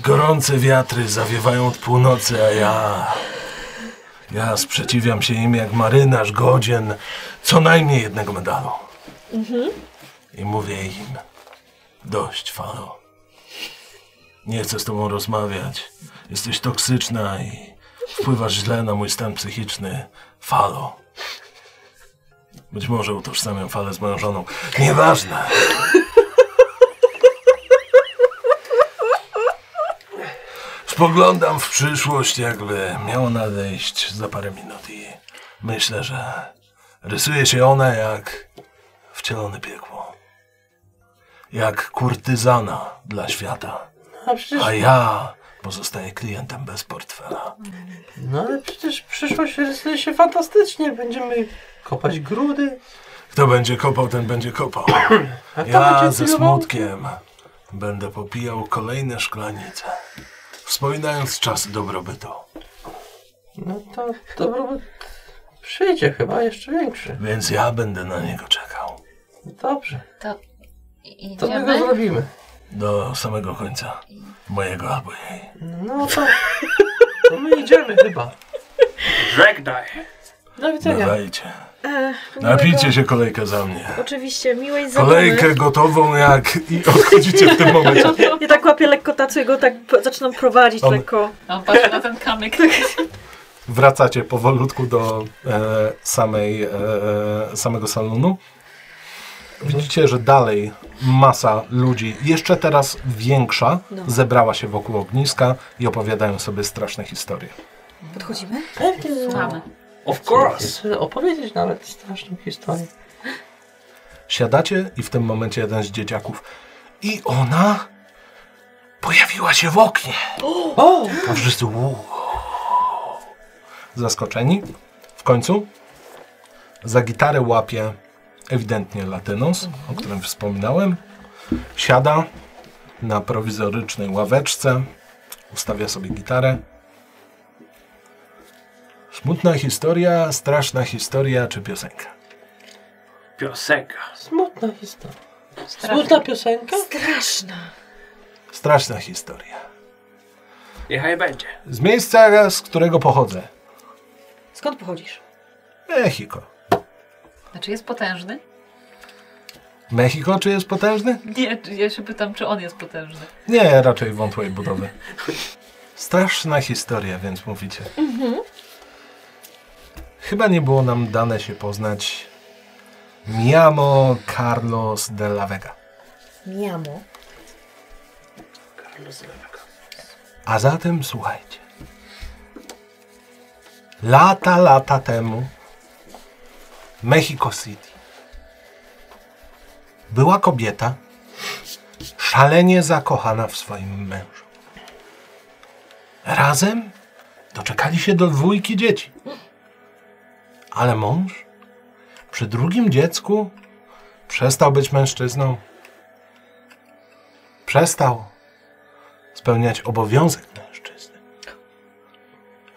Gorące wiatry zawiewają od północy, a ja. Ja sprzeciwiam się im jak marynarz godzien co najmniej jednego medalu. I mówię im: dość, falo. Nie chcę z tobą rozmawiać. Jesteś toksyczna i wpływasz źle na mój stan psychiczny. Falo. Być może utożsamiam falę z moją żoną. Nieważne. Spoglądam w przyszłość, jakby miało nadejść za parę minut i myślę, że rysuje się ona jak wcielone piekło. Jak kurtyzana dla świata.
No, A przecież
A ja Pozostaje klientem bez portfela.
No ale przecież przyszłość rysuje się fantastycznie. Będziemy kopać grudy.
Kto będzie kopał, ten będzie kopał.
A kto
Ja
będzie
ze
celował?
smutkiem będę popijał kolejne szklanice, wspominając czas dobrobytu.
No to dobrobyt przyjdzie chyba jeszcze większy.
Więc ja będę na niego czekał.
Dobrze,
To
to my go
idziemy?
zrobimy.
Do samego końca. Mojego albo jej.
No to, to my idziemy chyba.
Żegnaj.
Do widzenia.
Dawajcie.
E,
Napijcie
miłego-
się kolejkę za mnie.
Oczywiście, miłej zabawy.
Kolejkę gotową jak i odchodzicie w tym momencie.
Ja tak łapię lekko tacu i go tak p- zaczynam prowadzić
On-
lekko.
No patrz na ten kamyk.
Wracacie powolutku do e, samej, e, samego salonu. Widzicie, że dalej masa ludzi, jeszcze teraz większa, zebrała się wokół ogniska i opowiadają sobie straszne historie.
Podchodzimy?
Mamy.
Of course.
Chcę opowiedzieć nawet straszną historię.
Siadacie i w tym momencie jeden z dzieciaków. I ona pojawiła się w oknie.
O!
A wszyscy uuu. zaskoczeni. W końcu za gitarę łapie ewidentnie Latynos, o którym wspominałem. Siada na prowizorycznej ławeczce, ustawia sobie gitarę. Smutna historia, straszna historia czy piosenka?
Piosenka.
Smutna historia.
Strasznie.
Smutna piosenka?
Straszna.
Straszna historia.
Niechaj będzie.
Z miejsca, z którego pochodzę.
Skąd pochodzisz?
Mexico.
Znaczy jest potężny?
Mexico czy jest potężny?
Nie, czy- ja się pytam, czy on jest potężny.
Nie, raczej wątłej budowy. Straszna historia, więc mówicie. Chyba nie było nam dane się poznać. Miamo Carlos de la Vega.
Miamo.
A zatem słuchajcie. Lata, lata temu Mexico City była kobieta szalenie zakochana w swoim mężu. Razem doczekali się do dwójki dzieci. Ale mąż przy drugim dziecku przestał być mężczyzną. Przestał spełniać obowiązek mężczyzny.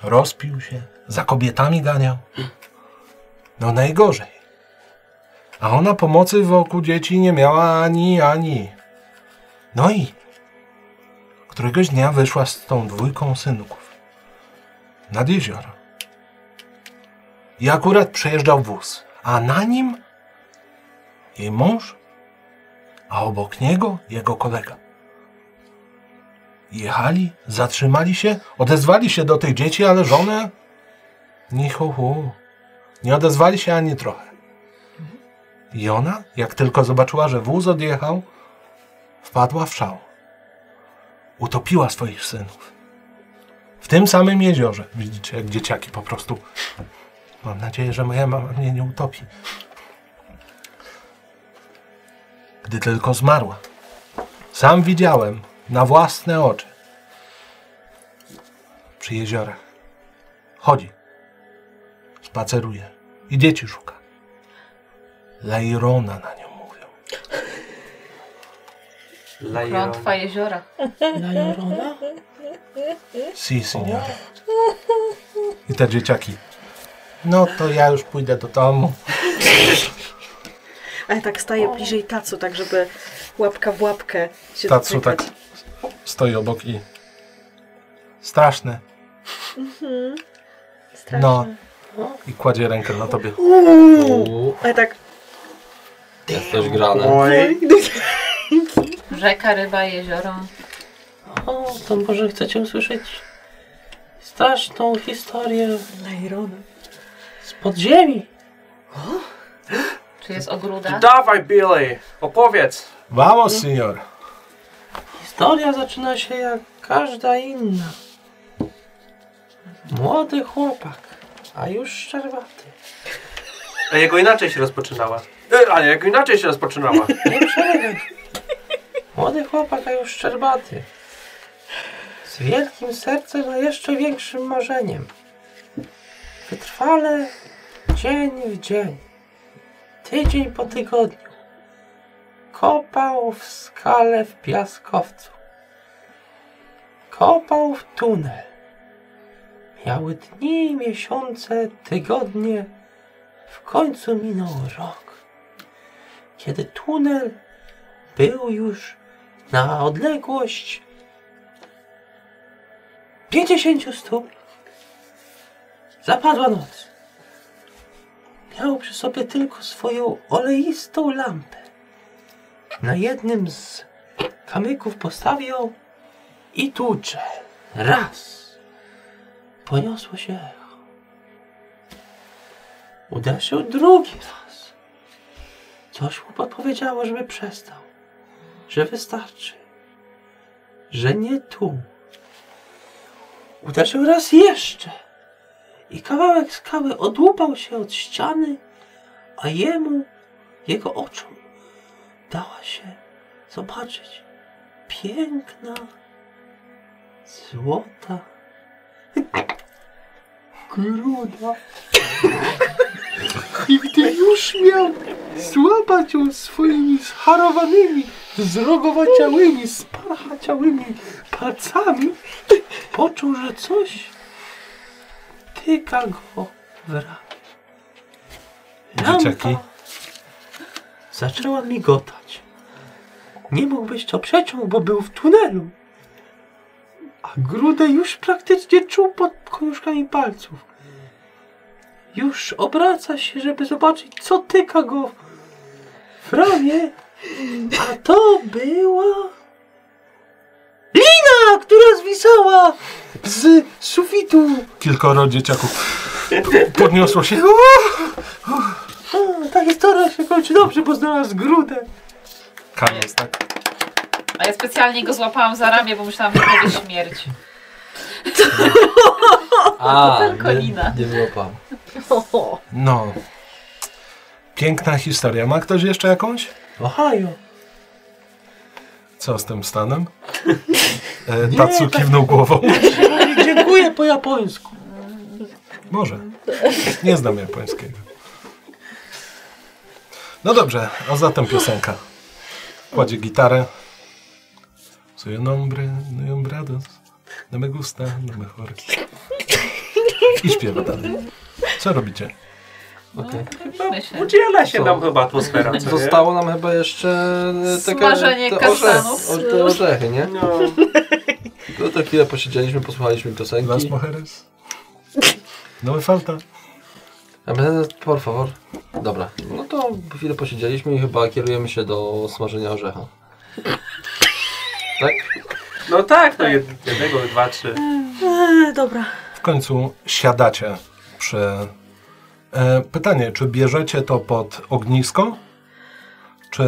Rozpił się, za kobietami ganiał. No najgorzej. A ona pomocy wokół dzieci nie miała ani, ani. No i któregoś dnia wyszła z tą dwójką synków nad jezioro. I akurat przejeżdżał wóz, a na nim jej mąż, a obok niego jego kolega. Jechali, zatrzymali się, odezwali się do tych dzieci, ale żonę. Nicho, hu. Nie odezwali się ani trochę. I ona, jak tylko zobaczyła, że wóz odjechał, wpadła w szał. Utopiła swoich synów. W tym samym jeziorze. Widzicie, jak dzieciaki po prostu. Mam nadzieję, że moja mama mnie nie utopi. Gdy tylko zmarła. Sam widziałem na własne oczy. Przy jeziorach. Chodzi. Spaceruje. I dzieci szuka. Lejrona na nią mówią.
Lajon.
Klątwa jeziora.
Lajorona?
Si, signore. I te dzieciaki. No to ja już pójdę do domu.
A ja tak staję bliżej tacu, tak żeby łapka w łapkę się
Tatsu tak
dotykać.
stoi obok i... Straszne. No. I kładzie rękę na tobie.
Uuu,
A ja tak
jesteś grany.
Oj.
Rzeka, ryba, jezioro.
O, to może chcecie usłyszeć straszną historię
Lejrony.
z podziemi.
Czy jest ogruda?
Dawaj, Billy. Opowiedz.
Vamos, signor.
Historia zaczyna się jak każda inna. Młody chłopak, a już szczerbaty.
A jego inaczej się rozpoczynała. E, Ale jego inaczej się rozpoczynała.
Nie przerywaj. Młody chłopak, a już szczerbaty. z wielkim sercem, a jeszcze większym marzeniem. Wytrwale, dzień w dzień, tydzień po tygodniu, kopał w skale w piaskowcu. Kopał w tunel. Miały dni, miesiące, tygodnie. W końcu minął rok, kiedy tunel był już na odległość 50 stóp. Zapadła noc. Miał przy sobie tylko swoją oleistą lampę. Na jednym z kamyków postawił ją i tłucze. Raz. Poniosło się echo. Uderzył drugi raz. Coś mu podpowiedziało, żeby przestał. Że wystarczy. Że nie tu. Uderzył raz jeszcze i kawałek skały odłupał się od ściany, a jemu, jego oczom, dała się zobaczyć piękna, złota gruda. I gdy już miał złapać ją swoimi scharowanymi, zrogowaciałymi, sparchaciałymi palcami, poczuł, że coś tyka go w ramię.
Dzieciaki.
Lampa zaczęła migotać. Nie mógł być to przeciąg, bo był w tunelu. A grudę już praktycznie czuł pod koniuszkami palców. Już obraca się, żeby zobaczyć, co tyka go w ramię. A to była... Lina, która zwisała z sufitu.
Kilkoro dzieciaków podniosło się. Tak
O, ta historia się kończy dobrze, bo znalazł grudę.
Kamień, tak?
A ja specjalnie go złapałam za ramię, bo myślałam, że powie śmierć.
A,
tylko
nie-
Lina.
Nie złapam.
Oho.
No. Piękna historia. Ma ktoś jeszcze jakąś?
Ohio.
Co z tym stanem? E, Tatsu
tak-
kiwnął głową.
Dziękuję po japońsku.
Może. Nie znam japońskiego. No dobrze, a zatem piosenka. Kładzie gitarę. Soy un hombre, no hombrados. No me gusta, no me chory. I śpiewa dalej. Co robicie?
Okej.
Myślę.
Udziela się
Co?
nam chyba atmosfera, co nie?
Zostało nam chyba jeszcze e, taka,
Smażenie
te orzechy,
kastanów.
o- te orzechy, nie?
No,
No to chwilę posiedzieliśmy, posłuchaliśmy
Las
piosenki.
mujeres. No me falta.
A my, por favor. Dobra, no to chwilę posiedzieliśmy i chyba kierujemy się do smażenia orzecha. Tak?
no tak, no jed- jednego, dwa, trzy.
E, dobra.
W końcu siadacie przy... E, pytanie, czy bierzecie to pod ognisko? Czy...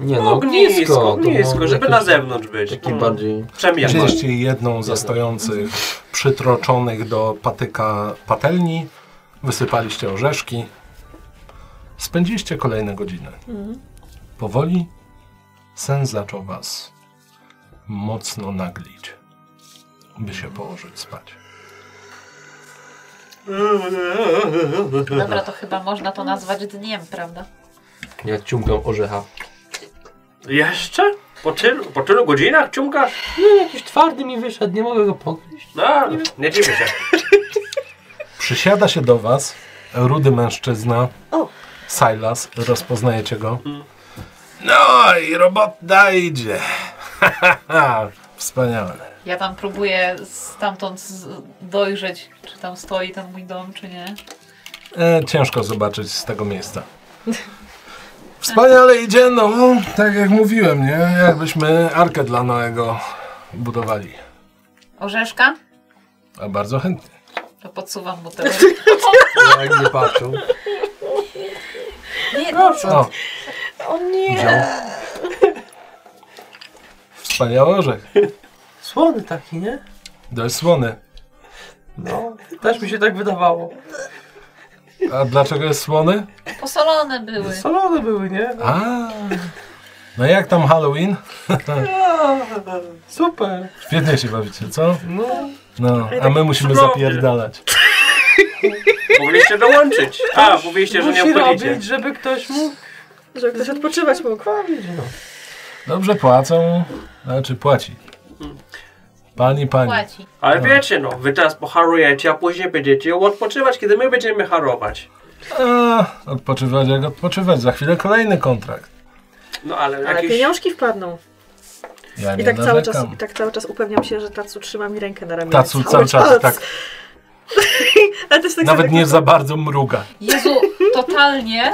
Nie no,
Ognisko,
to
ognisko,
może
żeby
jakiś
na zewnątrz być.
Taki
Mm.
bardziej...
Przemiana.
31 ze stojących przytroczonych do patyka patelni, wysypaliście orzeszki, spędziliście kolejne godziny. Powoli sen zaczął was mocno naglić, by się położyć spać.
Dobra, to chyba można to nazwać dniem, prawda?
Jak ciumkam orzecha.
Jeszcze? Po tylu, po tylu godzinach ciumkasz?
Nie, jakiś twardy mi wyszedł, nie mogę go pogryźć.
No, nie dziwię się.
Przysiada się do was rudy mężczyzna,
O.
Silas, rozpoznajecie go.
Mhm.
No i robota idzie. Wspaniale.
Ja tam próbuję stamtąd z- dojrzeć, czy tam stoi ten mój dom, czy nie.
E, ciężko zobaczyć z tego miejsca. Wspaniale idzie, no tak jak mówiłem, nie? Jakbyśmy arkę dla Noego budowali.
Orzeszka?
A bardzo chętnie.
To podsuwam mu tego.
Jak nie patrzył.
Nie, no co?
O,
O nie!
Wziął.
wspaniały orzech.
Słony taki, nie?
Dość słony.
No, też mi się tak wydawało.
A dlaczego jest słony?
Posolone były.
Solone były, nie?
A, No jak tam Halloween?
Super.
Świetnie się bawicie, co?
No.
No, a my musimy
cudownie.
zapierdalać.
Mówiliście dołączyć. A, mówiliście, że nie
Musi
obchodzicie.
robić, żeby ktoś mógł
Żeby ktoś odpoczywać mógł.
bawić. No.
Dobrze płacą, znaczy płaci. Pani, pani.
Płaci.
Ale wiecie, no, wy teraz poharujecie, a później będziecie odpoczywać, kiedy my będziemy harować.
A, odpoczywać jak odpoczywać, za chwilę kolejny kontrakt.
No ale,
Ale
jakiś...
pieniążki wpadną.
Ja nie
I tak, cały
narzekam.
czas, I tak cały czas upewniam się, że Tacu trzyma mi rękę na ramieniu.
Tacu cały czas tak,
Ale też tak
nawet
sobie-
nie za bardzo mruga.
Jezu, totalnie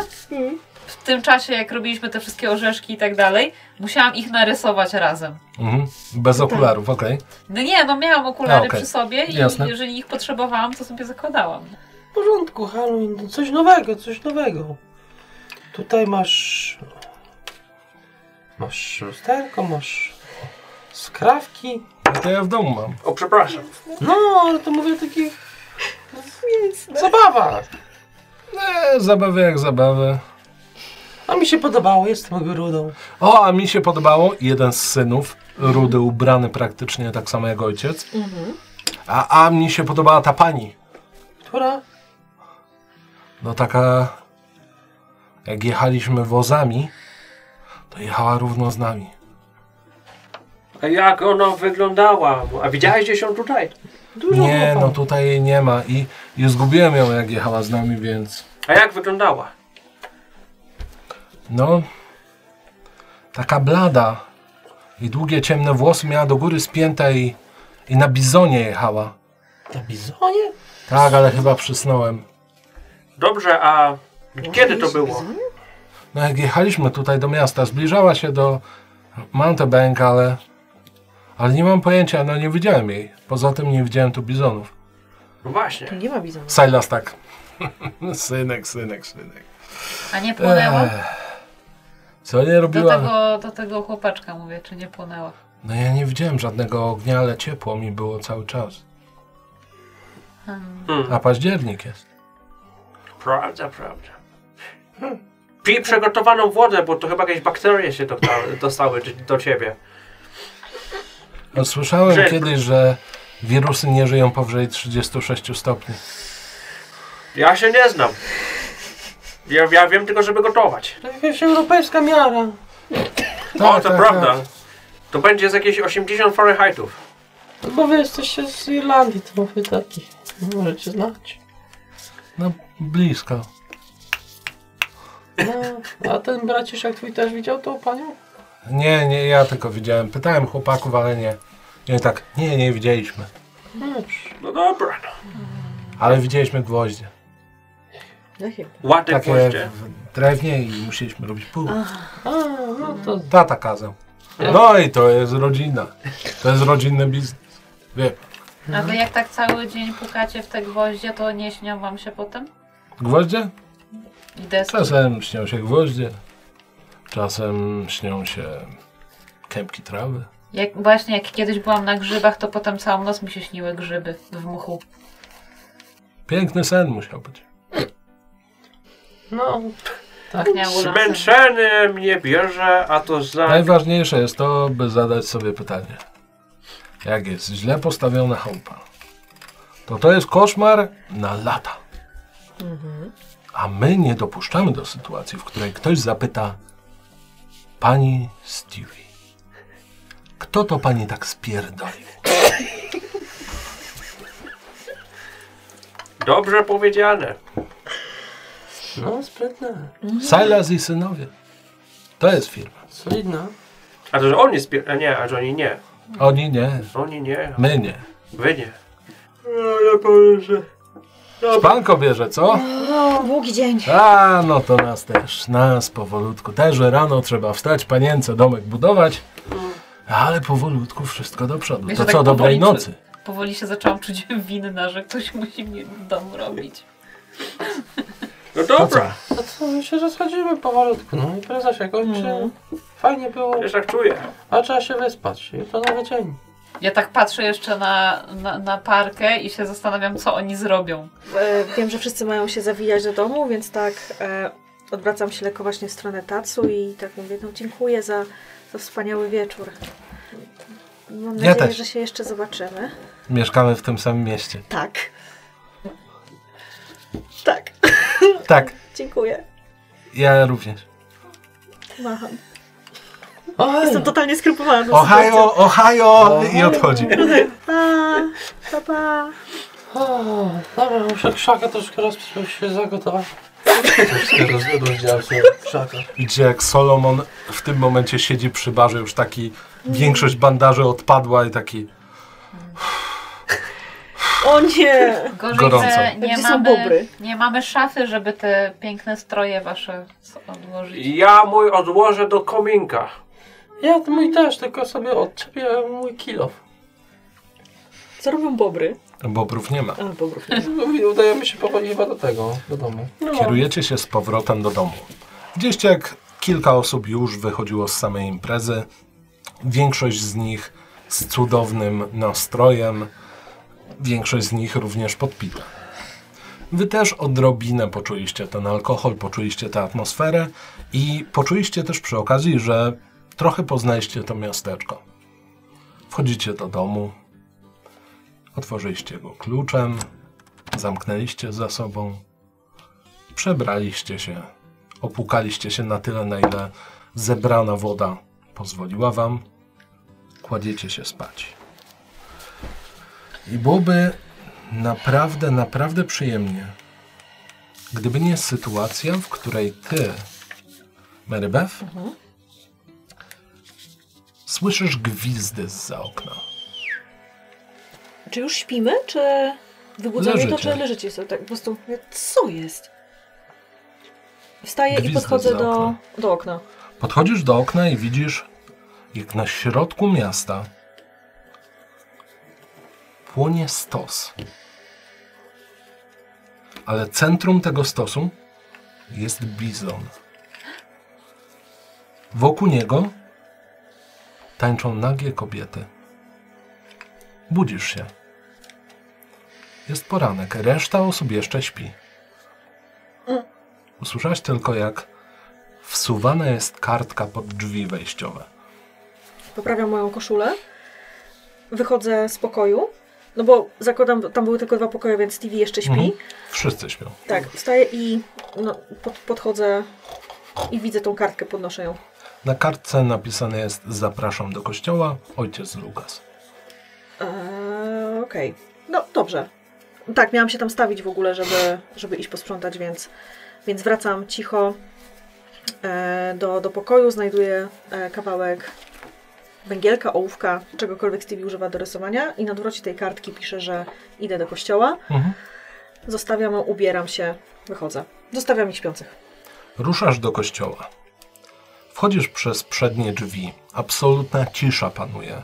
w tym czasie, jak robiliśmy te wszystkie orzeszki i tak dalej, musiałam ich narysować razem.
Mhm. Bez okularów, okej.
No nie, no miałam okulary
A, okej.
przy sobie i
Jasne.
jeżeli ich potrzebowałam, to sobie zakładałam.
W porządku, Halloween, no coś nowego, coś nowego. Tutaj masz... Masz lusterko, masz skrawki.
To ja w domu mam.
O, przepraszam.
No, ale to mówię o takich... Zabawa!
E, zabawy jak zabawy.
A mi się podobało, jestem ogrudą.
O, a mi się podobało, jeden z synów, rudy ubrany praktycznie tak samo jak ojciec. A, a mi się podobała ta pani.
Która?
No taka. Jak jechaliśmy wozami, to jechała równo z nami.
A jak ona wyglądała? A widziałeś gdzieś ją tutaj?
Dużo
Nie,
chłopa.
no tutaj jej nie ma i, i zgubiłem ją jak jechała z nami, więc.
A jak wyglądała?
No. Taka blada. I długie ciemne włosy miała do góry spięte i, i na bizonie jechała.
Na bizonie?
Tak, ale chyba przysnąłem.
Dobrze, a kiedy to było?
No jak jechaliśmy tutaj do miasta, zbliżała się do Mountebank, ale... Ale nie mam pojęcia, no nie widziałem jej. Poza tym nie widziałem tu bizonów.
No właśnie.
Nie ma bizonu.
Silas tak. synek, synek, synek.
A nie płonęła?
Ech, Co nie
Do
robiła?
tego, do tego chłopaczka mówię, czy nie płonęła.
No ja nie widziałem żadnego ognia, ale ciepło mi było cały czas.
Hmm.
Hmm.
A październik jest.
Prawda, prawda. Hmm. Pij przygotowaną wodę, bo to chyba jakieś bakterie się dostały, dostały d- do ciebie.
No, słyszałem
Że-
kiedyś, że wirusy nie żyją powyżej 36 stopni.
Ja się nie znam. Ja, ja wiem tylko, żeby gotować.
To jakaś europejska miara. Tak,
Tak,
o, to prawda. To będzie z jakieś 80 Fahrenheitów.
No Bo wy jesteście z Irlandii, to wy taki. Możecie znać.
No blisko.
No, a ten braciszek twój też widział tą panią?
Nie, nie, ja tylko widziałem. Pytałem chłopaków, ale nie. Nie tak, nie, nie widzieliśmy.
No dobra. no.
Ale widzieliśmy gwoździe.
Tak
Ładne
Takie
gwoździe.
w drewnie i musieliśmy robić pół.
A, no to
Tata kazał. No i to jest rodzina. To jest rodzinny biznes. Wie,
A
Mhm.
wy jak tak cały dzień pukacie w te gwoździe, to nie śnią wam się potem?
gwoździe?
I deski?
Czasem śnią się gwoździe. Czasem śnią się kępki trawy.
Jak, właśnie jak kiedyś byłam na grzybach, to potem całą noc mi się śniły grzyby w muchu.
Piękny sen musiał być.
no.
Tak Miało lasy.
Zmęczenie mnie bierze, a to za...
Najważniejsze jest to, by zadać sobie pytanie. Jak jest źle postawiona chałupa, to to jest koszmar na lata. A my nie dopuszczamy do sytuacji, w której ktoś zapyta Pani Stewie, kto to pani tak spierdolił?
Dobrze powiedziane.
No, sprytne.
Silas i synowie. To jest firma.
Solidna.
A to, że oni spier... a Nie, a że oni nie.
Oni nie,
Oni nie.
my nie.
Wy nie.
Szpanko bierze, co?
Długi dzień.
A, no to nas też, nas powolutku. Też rano trzeba wstać, panience domek budować, ale powolutku wszystko do przodu.
Wiesz,
To
tak
co, dobrej
powoli,
nocy.
Powoli się zaczęłam czuć winna, że ktoś musi mnie w domu robić.
No
To co?
dobra.
No to my się rozchodzimy powolutku. No, impreza się kończy.
Mhm.
Fajnie było,
Też tak czuję.
a trzeba się wyspać. Jutro nowy dzień.
Ja tak patrzę jeszcze na, na, na parkę i się zastanawiam, co oni zrobią.
E, wiem, że wszyscy mają się zawijać do domu, więc tak e, Odwracam się lekko właśnie w stronę Tatsu i tak mówię, no dziękuję za, za wspaniały wieczór. Mam nadzieję,
też.
że się jeszcze zobaczymy.
Mieszkamy w tym samym mieście.
Tak. Tak,
Tak,
dziękuję.
ja również.
Macham.
Oj,
Jestem totalnie skrupowana
No,
tą sytuacją.
Ohio, Ohio! I odchodzi.
Pa, pa, pa.
o, dobra, muszę krzaka Tak, troszkę rozpisać, się zagotować. Troszkę rozbrudziałem się krzaka.
Widzicie, jak Solomon w tym momencie siedzi przy barze, już taki większość bandaży odpadła i taki.
O nie!
Gorzej,
Gorąco.
że nie
Gdzie są bobry?
mamy, nie mamy szafy, żeby te piękne stroje wasze odłożyć.
Ja mój odłożę do kominka.
Ja mój też, tylko sobie odczepię mój kilof.
Co robią bobry?
Bobrów nie ma.
A, bobrów nie.
I Udajemy się powoli chyba do tego, do domu.
Kierujecie się z powrotem do domu. Widzieliście, jak kilka osób już wychodziło z samej imprezy. Większość z nich z cudownym nastrojem, większość z nich również podpita. Wy też odrobinę poczuliście ten alkohol, poczuliście tę atmosferę i poczuliście też przy okazji, że trochę poznaliście to miasteczko. Wchodzicie do domu, otworzyliście go kluczem, zamknęliście za sobą, przebraliście się, opłukaliście się na tyle, na ile zebrana woda pozwoliła wam, kładziecie się spać. I byłoby naprawdę, naprawdę przyjemnie, gdyby nie sytuacja, w której ty, Mary Beth, słyszysz gwizdy zza okna.
Czy już śpimy, czy wybudza mnie to,
Leżycie.
czy leżycie sobie tak po prostu? mówię, Co jest? Wstaję i
Gwizdę
podchodzę
za
do,
okno.
do okna.
Podchodzisz do okna i widzisz, jak na środku miasta płonie stos. Ale centrum tego stosu jest bizon. Wokół niego tańczą nagie kobiety. Budzisz się. Jest poranek, reszta osób jeszcze śpi. Usłyszałaś tylko, jak Wsuwana jest kartka pod drzwi wejściowe.
Poprawiam moją koszulę. Wychodzę z pokoju. No bo zakładam, tam były tylko dwa pokoje, więc TV jeszcze śpi.
Mhm. Wszyscy śpią.
Tak, wstaję i no, pod, podchodzę i widzę tą kartkę, podnoszę ją.
Na kartce napisane jest Zapraszam do kościoła, ojciec Lukas.
Eee, Okej. No dobrze. Tak, miałam się tam stawić w ogóle, żeby, żeby iść posprzątać, więc, więc wracam cicho e, do, do pokoju. Znajduję e, kawałek węgielka, ołówka, czegokolwiek Stevie używa do rysowania i na odwrocie tej kartki piszę, że idę do kościoła.
Mhm.
Zostawiam, ją, ubieram się, wychodzę. Zostawiam ich śpiących.
Ruszasz do kościoła. Wchodzisz przez przednie drzwi. Absolutna cisza panuje.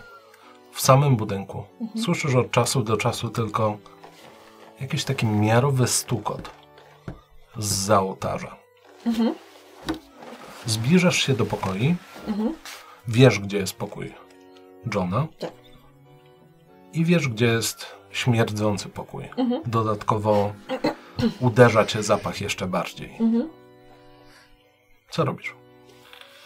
W samym budynku. Słyszysz od czasu do czasu tylko jakiś taki miarowy stukot zza ołtarza. Zbliżasz się do pokoi. Wiesz, gdzie jest pokój Johna.
Tak.
I wiesz, gdzie jest śmierdzący pokój.
Mhm.
Dodatkowo uderza cię zapach jeszcze bardziej.
Mhm.
Co robisz?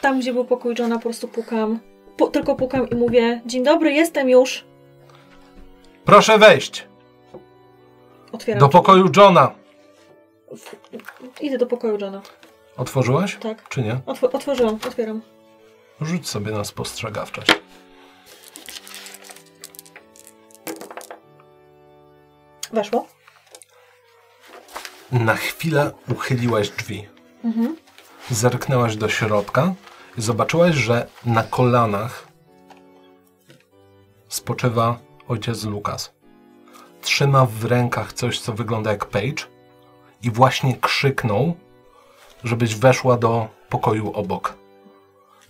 Tam, gdzie był pokój Johna, po prostu pukam. Pu tylko pukam i mówię, dzień dobry, jestem już.
Proszę wejść
Otwieram.
do pokoju Johna.
Idę do pokoju Johna.
Otworzyłaś?
Tak.
Czy nie?
Otw otworzyłam, otwieram.
Rzuć sobie na spostrzegawczość.
Weszło.
Na chwilę uchyliłaś drzwi. Zerknęłaś do środka i zobaczyłaś, że na kolanach spoczywa ojciec Lukas. Trzyma w rękach coś, co wygląda jak page i właśnie krzyknął, żebyś weszła do pokoju obok.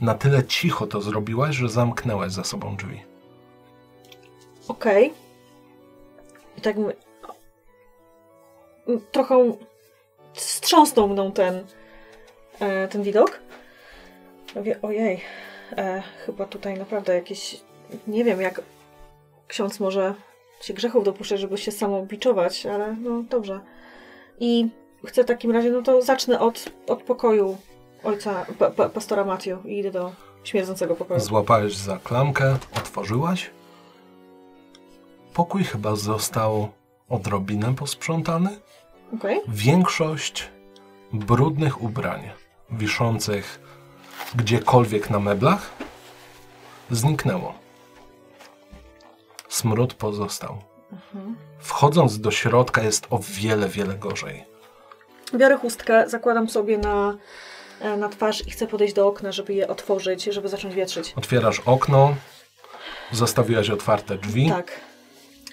Na tyle cicho to zrobiłaś, że zamknęłaś za sobą drzwi.
Okej. I tak mówię. M, Trochę wstrząsnął mną ten, e, ten widok. Mówię, ojej, e, chyba tutaj naprawdę jakieś. Nie wiem, jak ksiądz może się grzechów dopuszczać, żeby się samobiczować, ale no dobrze. I Chcę w takim razie, no to zacznę od, od pokoju ojca, pa, pa, pastora Matthew i idę do śmierdzącego pokoju.
Złapałeś za klamkę, otworzyłaś. Pokój chyba został odrobinę posprzątany.
Okej?
Większość brudnych ubrań wiszących gdziekolwiek na meblach zniknęło. Smród pozostał. Wchodząc do środka jest o wiele, wiele gorzej.
Biorę chustkę, zakładam sobie na, e, na twarz i chcę podejść do okna, żeby je otworzyć, żeby zacząć wietrzyć.
Otwierasz okno, zostawiłaś otwarte drzwi.
Tak.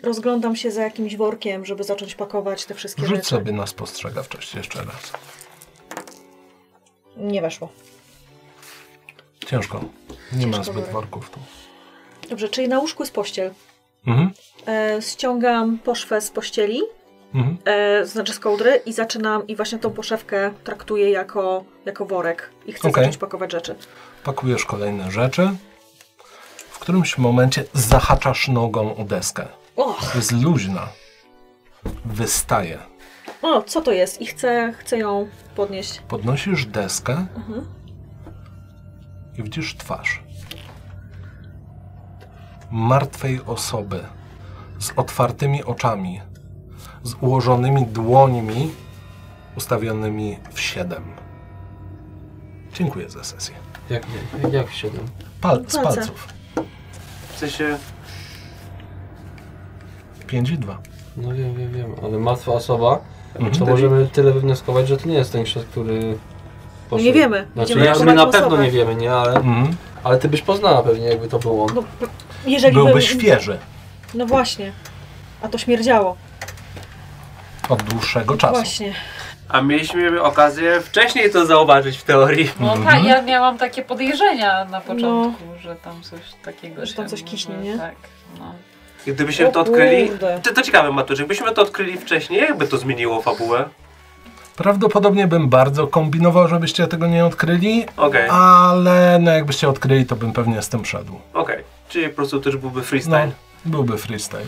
Rozglądam się za jakimś workiem, żeby zacząć pakować te wszystkie
Rzuć
rzeczy.
sobie na spostrzegawczość jeszcze raz.
Nie weszło.
Ciężko. Nie ma
Ciężko
zbyt
było.
worków tu.
Dobrze, czyli na łóżku jest pościel.
Mhm.
E, ściągam poszwę z pościeli,
Mhm.
e, znaczy z kołdry i zaczynam, i właśnie tą poszewkę traktuję jako, jako worek i chcę
Okej.
zacząć pakować rzeczy.
Pakujesz kolejne rzeczy. W którymś momencie zahaczasz nogą o deskę.
O,
Jest luźna. Wystaje.
o, co to jest? I chcę, chcę ją podnieść. No
Podnosisz deskę
Mhm.
i widzisz twarz. Martwej osoby z otwartymi oczami, z ułożonymi dłońmi ustawionymi w siedem. Dziękuję za sesję.
Jak, jak, jak siedem?
Pal- z
Palce.
palców.
W sensie,
5 i 2.
No wiem, wiem, wiem, ale martwa osoba,
Mhm.
to możemy tyle wywnioskować, że to nie jest ten ślad, który poszedł.
Nie wiemy.
Znaczy, ja,
Będziemy
my
ratować
na
osobę.
pewno nie wiemy, nie, ale,
Mhm.
ale ty byś poznała pewnie, jakby to było.
No, p- jeżeli
Byłby
bym-
świeży
No właśnie. A to śmierdziało.
od dłuższego czasu.
Właśnie.
a mieliśmy okazję wcześniej to zauważyć w teorii.
No
Mhm.
tak, ja miałam takie podejrzenia na początku, że tam coś takiego
No. Że tam
się
coś
może-
kiśnie, nie?
Tak, no.
I Gdybyśmy
O
to odkryli.
kurde.
To, to ciekawe, Matu, że gdybyśmy to odkryli wcześniej, jakby to zmieniło fabułę.
Prawdopodobnie bym bardzo kombinował, żebyście tego nie odkryli,
Okej,
ale no jakbyście odkryli, to bym pewnie z tym szedł.
okej. Czyli po prostu też byłby
No,
freestyle.
byłby freestyle.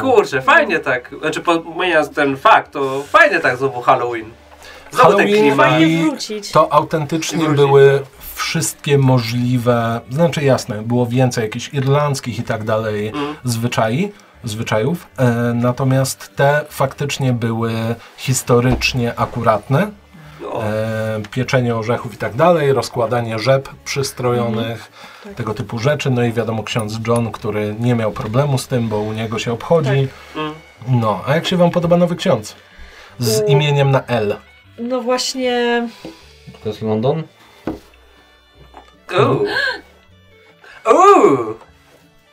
Kurczę, fajnie tak. Znaczy, pomijając ten fakt, to fajnie tak znowu Halloween. Znowu ten
Halloween
klimat.
i
wrócić.
to autentycznie
Wrócić.
były wszystkie możliwe, znaczy jasne, było więcej jakichś irlandzkich i tak dalej zwyczai, zwyczajów, e, natomiast te faktycznie były historycznie akuratne.
O,
e, pieczenie orzechów i tak dalej, rozkładanie rzep
Mhm.
przystrojonych,
Tak.
tego typu rzeczy. No i wiadomo, ksiądz John, który nie miał problemu z tym, bo u niego się obchodzi.
Mm.
No, a jak się wam podoba nowy ksiądz? Z
Tak. U.
imieniem na L.
No właśnie.
To jest London?
Uuu. Uuu.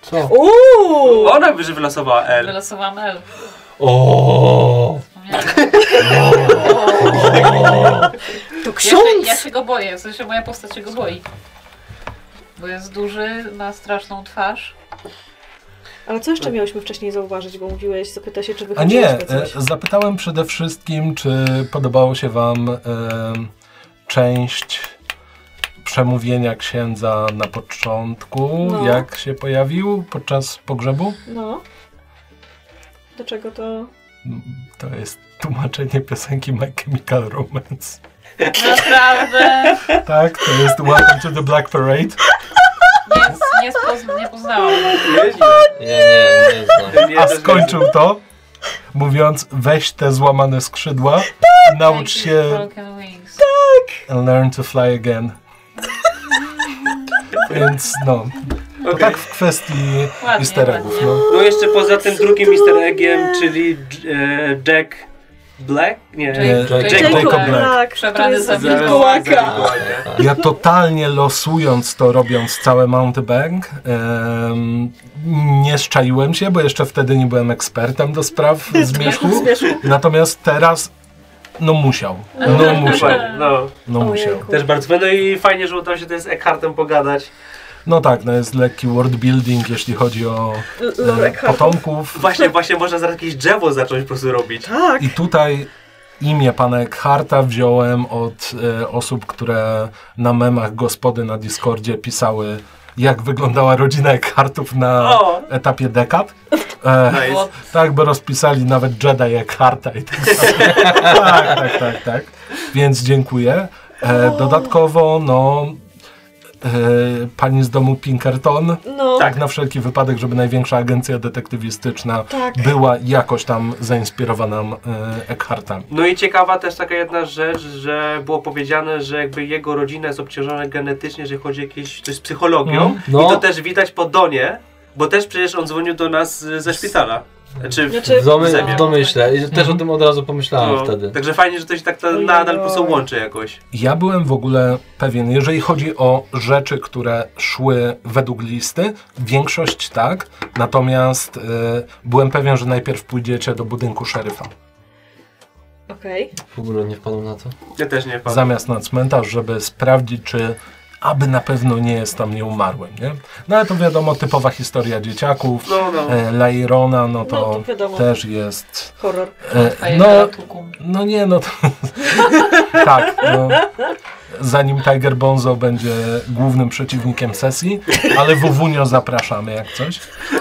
Co?
Uuu!
Ona by wylosowała L.
Wylosowałam L.
O!
Wspomniałam.
To
Ja się,
ksiądz!
ja się go boję, w sensie moja postać się go boi. Bo jest duży, ma straszną twarz.
Ale co jeszcze miałyśmy wcześniej zauważyć, bo mówiłeś, zapyta się, czy
A nie,
wychodziłyśmy
e,
coś.
zapytałem przede wszystkim, czy podobało się wam em, część przemówienia księdza na początku,
No.
jak się pojawił podczas pogrzebu?
No. Do czego to...
To jest tłumaczenie piosenki My Chemical Romance.
Naprawdę
Tak, to jest Welcome to the Black Parade.
nie, nie, spoz, nie poznałam.
Nieźle.
Nie, nie, nie znam.
Nie,
A
to jest
skończył to, mówiąc weź te złamane skrzydła,
Tak.
naucz się
Broken Wings.
and learn to fly again. Więc no, to
Okej.
tak w kwestii
Ładnie,
easter eggów.
ładnie.
No.
No jeszcze poza tym drugim easter eggiem, czyli J- e, Jack Black? Nie.
Jack-
Jack-
Jacob
Jacob
Black.
Tak,
Przebrany
który
za
jest
wilkołaka.
wilkołaka.
Ja totalnie losując to, robiąc całe Mountebank, em, nie szczaiłem się, bo jeszcze wtedy nie byłem ekspertem do spraw zmierzchu. Natomiast teraz, no musiał.
Mhm.
No musiał.
Dokładnie, No,
No musiał.
Ojejku.
też bardzo fajne. No i fajnie, że udało się też z Eckhartem pogadać.
No tak, no jest lekki world building, jeśli chodzi o
L-
e,
Lorek Hartman.
potomków.
Właśnie, właśnie można za jakieś drzewo zacząć po prostu robić.
Tak.
I tutaj imię pana Eckharta wziąłem od e, osób, które na memach gospody na Discordzie pisały jak wyglądała rodzina Eckhartów na
O.
etapie dekad. E,
Nice.
tak, bo rozpisali nawet Jedi Eckharta i tak dalej. tak, tak, tak, tak. Więc dziękuję. E, dodatkowo, no, e, pani z domu Pinkerton,
No,
tak na wszelki wypadek, żeby największa agencja detektywistyczna
tak.
była jakoś tam zainspirowana e, Eckhartami.
No i ciekawa też taka jedna rzecz, że było powiedziane, że jakby jego rodzina jest obciążona genetycznie, jeżeli chodzi o jakieś coś z psychologią.
Mm,
no.
I to też widać po Donie, bo też przecież on dzwonił do nas y, ze szpitala. Czy
W, domy,
Zemia.
w domyśle. I też o tym od razu pomyślałem
no,
wtedy.
Także fajnie, że to się tak na- nadal po prostu łączy jakoś.
Ja byłem w ogóle pewien, jeżeli chodzi o rzeczy, które szły według listy, większość tak, natomiast y, byłem pewien, że najpierw pójdziecie do budynku szeryfa,
Okej.
W ogóle nie wpadłem na to.
Ja też nie pamiętam.
zamiast na cmentarz, żeby sprawdzić, czy aby na pewno nie jest tam nieumarłym, nie? No ale to wiadomo, typowa historia dzieciaków,
No, no.
e, Lairona, no
No, to
to
wiadomo.
też jest...
Horror.
E,
No.
no, no nie, no to... tak, no. Zanim Tiger Bonzo będzie głównym przeciwnikiem sesji, ale Wuwunio zapraszamy jak coś.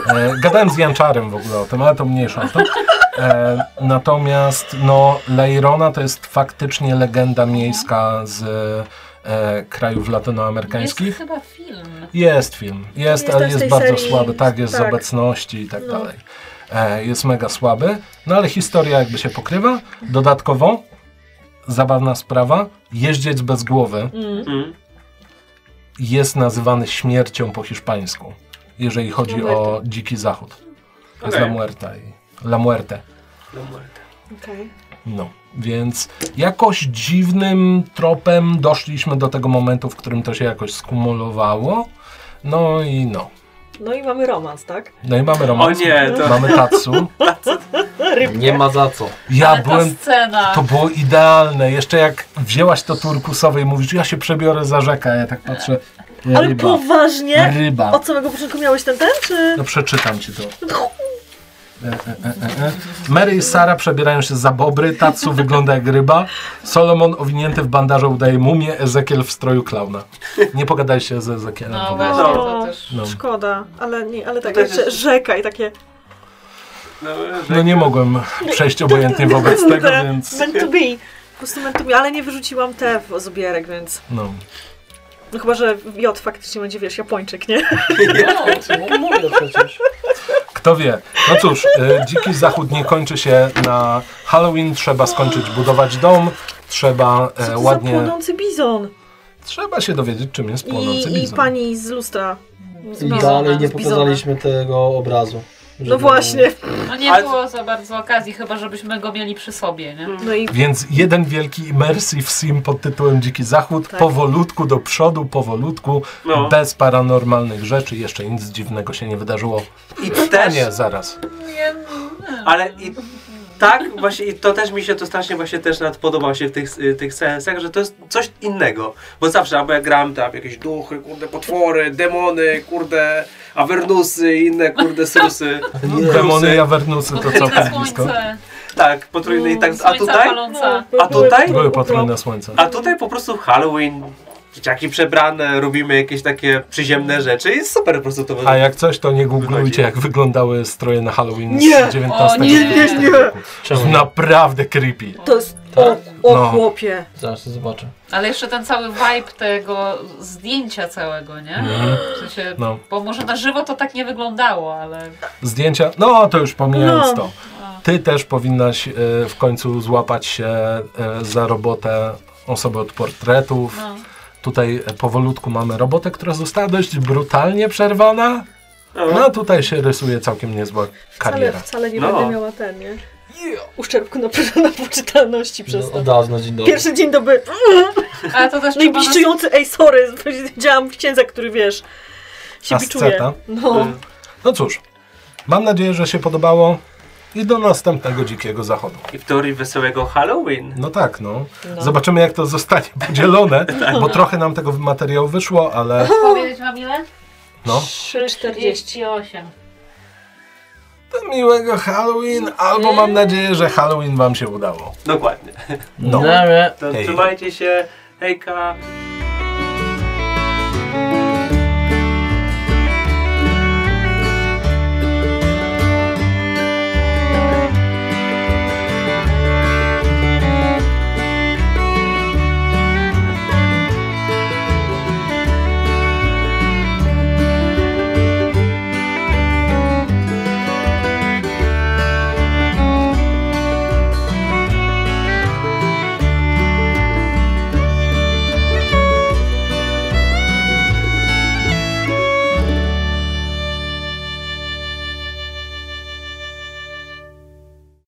E, gadałem z Janczarem w ogóle o tym, ale to mniejsza o to. E, natomiast no, Leirona to jest faktycznie legenda miejska z e, krajów
Jest
latynoamerykańskich.
chyba film.
Jest film, jest,
Jest
ale
też
jest
tej
bardzo
serii,
słaby, tak, jest z
tak.
obecności i tak dalej. E, jest mega słaby, no ale historia jakby się pokrywa. Dodatkowo, zabawna sprawa, jeździec bez głowy
Mm.
jest nazywany śmiercią po hiszpańsku, jeżeli chodzi
Muerte.
o Dziki Zachód. To jest
Okej.
La Muerta i La Muerte.
Okej.
No, więc jakoś dziwnym tropem doszliśmy do tego momentu, w którym to się jakoś skumulowało. No i no.
No i mamy romans, tak?
No i mamy
O
romans.
nie, to...
Mamy Tatsu.
Nie ma za co.
Ja
Ale ta
byłem.
scena.
To było idealne. Jeszcze jak wzięłaś to turkusowe i mówisz, ja się przebiorę za rzekę, a ja tak patrzę. Ryba.
Ale poważnie?
Ryba.
Od samego początku miałeś ten ten, czy...
No przeczytam ci to. E, e, e, e, e. Mary i Sara przebierają się za bobry, Tatsu wygląda jak ryba, Solomon owinięty w bandaże udaje mumię, Ezekiel w stroju klauna. Nie pogadaj się z Ezekielem.
No
w ogóle.
właśnie, to też.
No.
Szkoda, ale nie,
No
ale tak,
To też
jeszcze
jest-
rzeka i takie...
No,
no nie mogłem przejść obojętnie wobec
No
tego,
tak.
te-
więc
Meant to be. Po prostu meant to be, ale nie wyrzuciłam te w- z obierek, więc...
no.
No chyba, że J faktycznie będzie, wiesz, Japończyk, nie?
No, mówię przecież.
Kto wie? No cóż, y, Dziki Zachód nie kończy się na Halloween. Trzeba skończyć budować dom, trzeba
Co
e,
to za
ładnie.
płonący bizon?
Trzeba się dowiedzieć, czym jest płonący
I, I
bizon.
pani z lustra. Z
I
bizona,
dalej nie
z bizona.
pokazaliśmy tego obrazu.
No właśnie.
No nie
Ale-
było za bardzo okazji, chyba żebyśmy go mieli przy sobie, nie?
No i
Więc jeden wielki immersive sim pod tytułem Dziki Zachód,
Tak.
powolutku do przodu, powolutku,
No.
bez paranormalnych rzeczy, jeszcze nic dziwnego się nie wydarzyło.
I
A
też,
nie, zaraz.
ale i tak właśnie, i to też mi się to strasznie właśnie też nawet podoba się w tych, y, tych sensach, że to jest coś innego. Bo zawsze, albo ja gram tam jakieś duchy, kurde potwory, demony, kurde awernusy i inne kurde susy.
Nie.
Demony i Avernusy to całkiem
Podchwytne
blisko.
słońce,
Tak, potrójne i tak, a
słońca
tutaj?
paląca.
A tutaj?
Były potrójne słońce.
A tutaj po prostu Halloween, dzieciaki przebrane, robimy jakieś takie przyziemne rzeczy i super po prostu to
A
wygląda.
jak coś, to nie googlujcie, jak wyglądały stroje na Halloween
Nie!
z 19
O nie,
wieku.
nie,
nie.
Czemu? nie?
Naprawdę creepy.
to jest... O,
Tak.
o
No.
chłopie.
Zaraz to zobaczę.
Ale jeszcze ten cały vibe tego zdjęcia całego, nie? W sensie,
No.
bo może na żywo to tak nie wyglądało, ale
Zdjęcia, no to już pomijając
No.
to. Ty też powinnaś e, w końcu złapać się e, za robotę osoby od portretów.
no.
Tutaj e, powolutku mamy robotę, która została dość brutalnie przerwana. No a tutaj się rysuje całkiem niezła
Wcale,
kariera.
wcale nie
No.
będę miała ten, nie? Uszczerbku na, na poczytalności przez
No,
to.
od dawna, dzień dobry.
Pierwszy dzień doby.
Ale to też
No i
trzeba... nas-
biczujący, ej sorry, widziałam księdza, który wiesz, się biczuje.
Asceta.
No,
No cóż, mam nadzieję, że się podobało i do następnego dzikiego zachodu.
I w teorii wesołego Halloween.
No tak, no. Zobaczymy, jak to zostanie podzielone, bo trochę nam tego materiału wyszło, ale
Powiedzieć wam ile?
no.
3,40.
38.
To miłego Halloween, albo mam nadzieję, że Halloween wam się udało.
Dokładnie.
No.
Dobra.
To
Hej.
trzymajcie się, hejka.